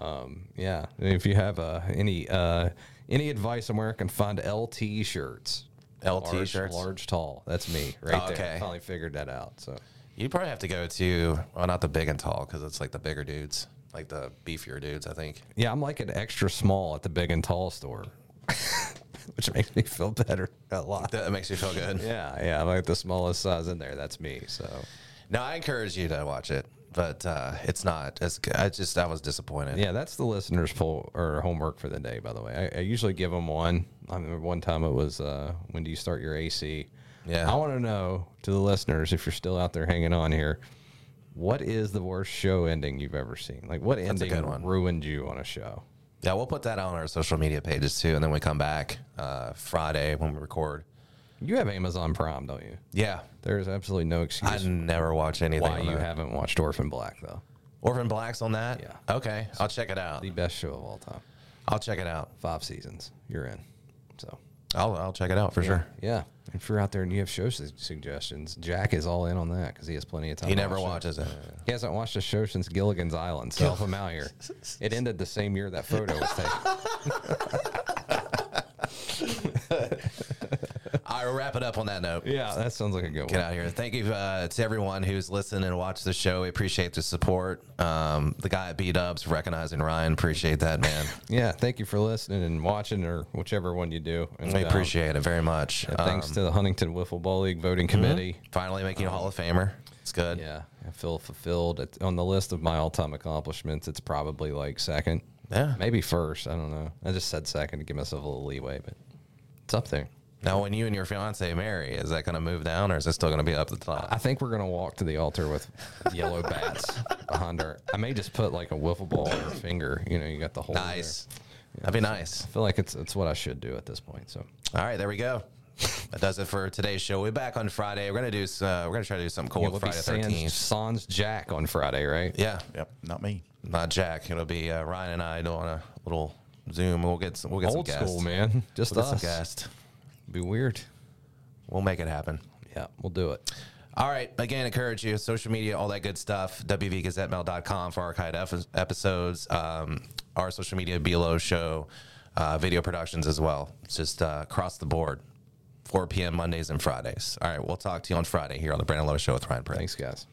Speaker 3: um, yeah, if you have uh, any uh, Any advice on where I can find LT shirts?
Speaker 1: LT
Speaker 3: large,
Speaker 1: shirts?
Speaker 3: large, tall. That's me right
Speaker 1: Oh,
Speaker 3: there.
Speaker 1: okay.
Speaker 3: I finally figured that out. So
Speaker 1: You probably have to go to well, not the big and tall because it's like the bigger dudes, like the beefier dudes. I think.
Speaker 3: yeah, I'm like an extra small at the big and tall store, which makes me feel better a lot.
Speaker 1: That makes you feel good.
Speaker 3: Yeah, yeah, I'm like the smallest size in there. That's me. So
Speaker 1: No, I encourage you to watch it, but uh, it's not. It's, I just I was disappointed.
Speaker 3: yeah, that's the listeners' poll or homework for the day. By the way, I, I usually give them one. I remember one time it was uh, when do you start your AC?
Speaker 1: Yeah.
Speaker 3: I want to know to the listeners if you're still out there hanging on here. What is the worst show ending you've ever seen? Like, what ending
Speaker 1: good one.
Speaker 3: ruined you on a show?
Speaker 1: Yeah, we'll put that on our social media pages too, and then we come back uh, Friday when we record.
Speaker 3: You have Amazon Prime, don't you?
Speaker 1: Yeah,
Speaker 3: There is absolutely no
Speaker 1: I
Speaker 3: excuse
Speaker 1: never watch anything.
Speaker 3: why
Speaker 1: on
Speaker 3: you
Speaker 1: that.
Speaker 3: haven't watched Orphan Black, though.
Speaker 1: Orphan Black's on that.
Speaker 3: Yeah.
Speaker 1: Okay, I'll check it out.
Speaker 3: The best show of all time.
Speaker 1: I'll check it out.
Speaker 3: Five seasons. You're in. So.
Speaker 1: I'll I'll check it out for sure.
Speaker 3: Yeah. If you're out there and you have show su- suggestions, Jack is all in on that because he has plenty of time.
Speaker 1: He
Speaker 3: to
Speaker 1: never
Speaker 3: watch it.
Speaker 1: watches it.
Speaker 3: He hasn't watched a show since Gilligan's Island, so help him out here. It ended the same year that photo was taken.
Speaker 1: I'll wrap it up on that note.
Speaker 3: yeah, that sounds like a good
Speaker 1: Get
Speaker 3: one.
Speaker 1: out of here. Thank you uh, to everyone who's listened and watched the show. We appreciate the support. Um, the guy at B Dubs recognizing Ryan. Appreciate that, man.
Speaker 3: Yeah, thank you for listening and watching, or whichever one you do. And,
Speaker 1: We
Speaker 3: um,
Speaker 1: appreciate it Mm-hmm. very much. Um,
Speaker 3: and thanks to the Huntington Wiffle Ball League voting committee.
Speaker 1: Finally making you a Hall of Famer. It's good.
Speaker 3: Yeah, I feel fulfilled. It's on the list of my all-time accomplishments, it's probably like second.
Speaker 1: Yeah.
Speaker 3: maybe first. I don't know. I just said second to give myself a little leeway, but it's up there.
Speaker 1: Now, when you and your fiance marry, is that going to move down or is it still going to be up at the
Speaker 3: I
Speaker 1: top?
Speaker 3: think we're gonna walk to the altar with yellow bats behind our. I may just put like a wiffle ball on her finger. You know, you got the whole.
Speaker 1: Nice. That'd be nice.
Speaker 3: I feel like it's it's what I should do at this point. So
Speaker 1: All right, there we go. That does it for today's show. We're back on Friday. We're gonna do. s- Uh, we're gonna try to do something cool
Speaker 3: yeah,
Speaker 1: with
Speaker 3: we'll
Speaker 1: Friday
Speaker 3: be sans,
Speaker 1: thirteenth.
Speaker 3: sans Jack on Friday, right?
Speaker 1: Yeah,
Speaker 2: Yep, not me.
Speaker 1: not Jack. It'll be uh, Ryan and I doing a little Zoom. We'll get some. We'll get
Speaker 3: Old
Speaker 1: some
Speaker 3: school,
Speaker 1: guests.
Speaker 3: man. Just
Speaker 1: We'll get some
Speaker 3: us.
Speaker 1: guests.
Speaker 3: Be weird.
Speaker 1: We'll make it happen.
Speaker 3: Yeah, we'll do it.
Speaker 1: All right. Again, encourage you. Social media, all that good stuff. WVGazetteMail.com for archived ep- episodes. Um, our social media, Below Show, uh, video productions as well. It's just uh, across the board. 4 p.m. Mondays and Fridays. All right. We'll talk to you on Friday here on the Brandon Lowe Show with Ryan Prince.
Speaker 3: Thanks, guys.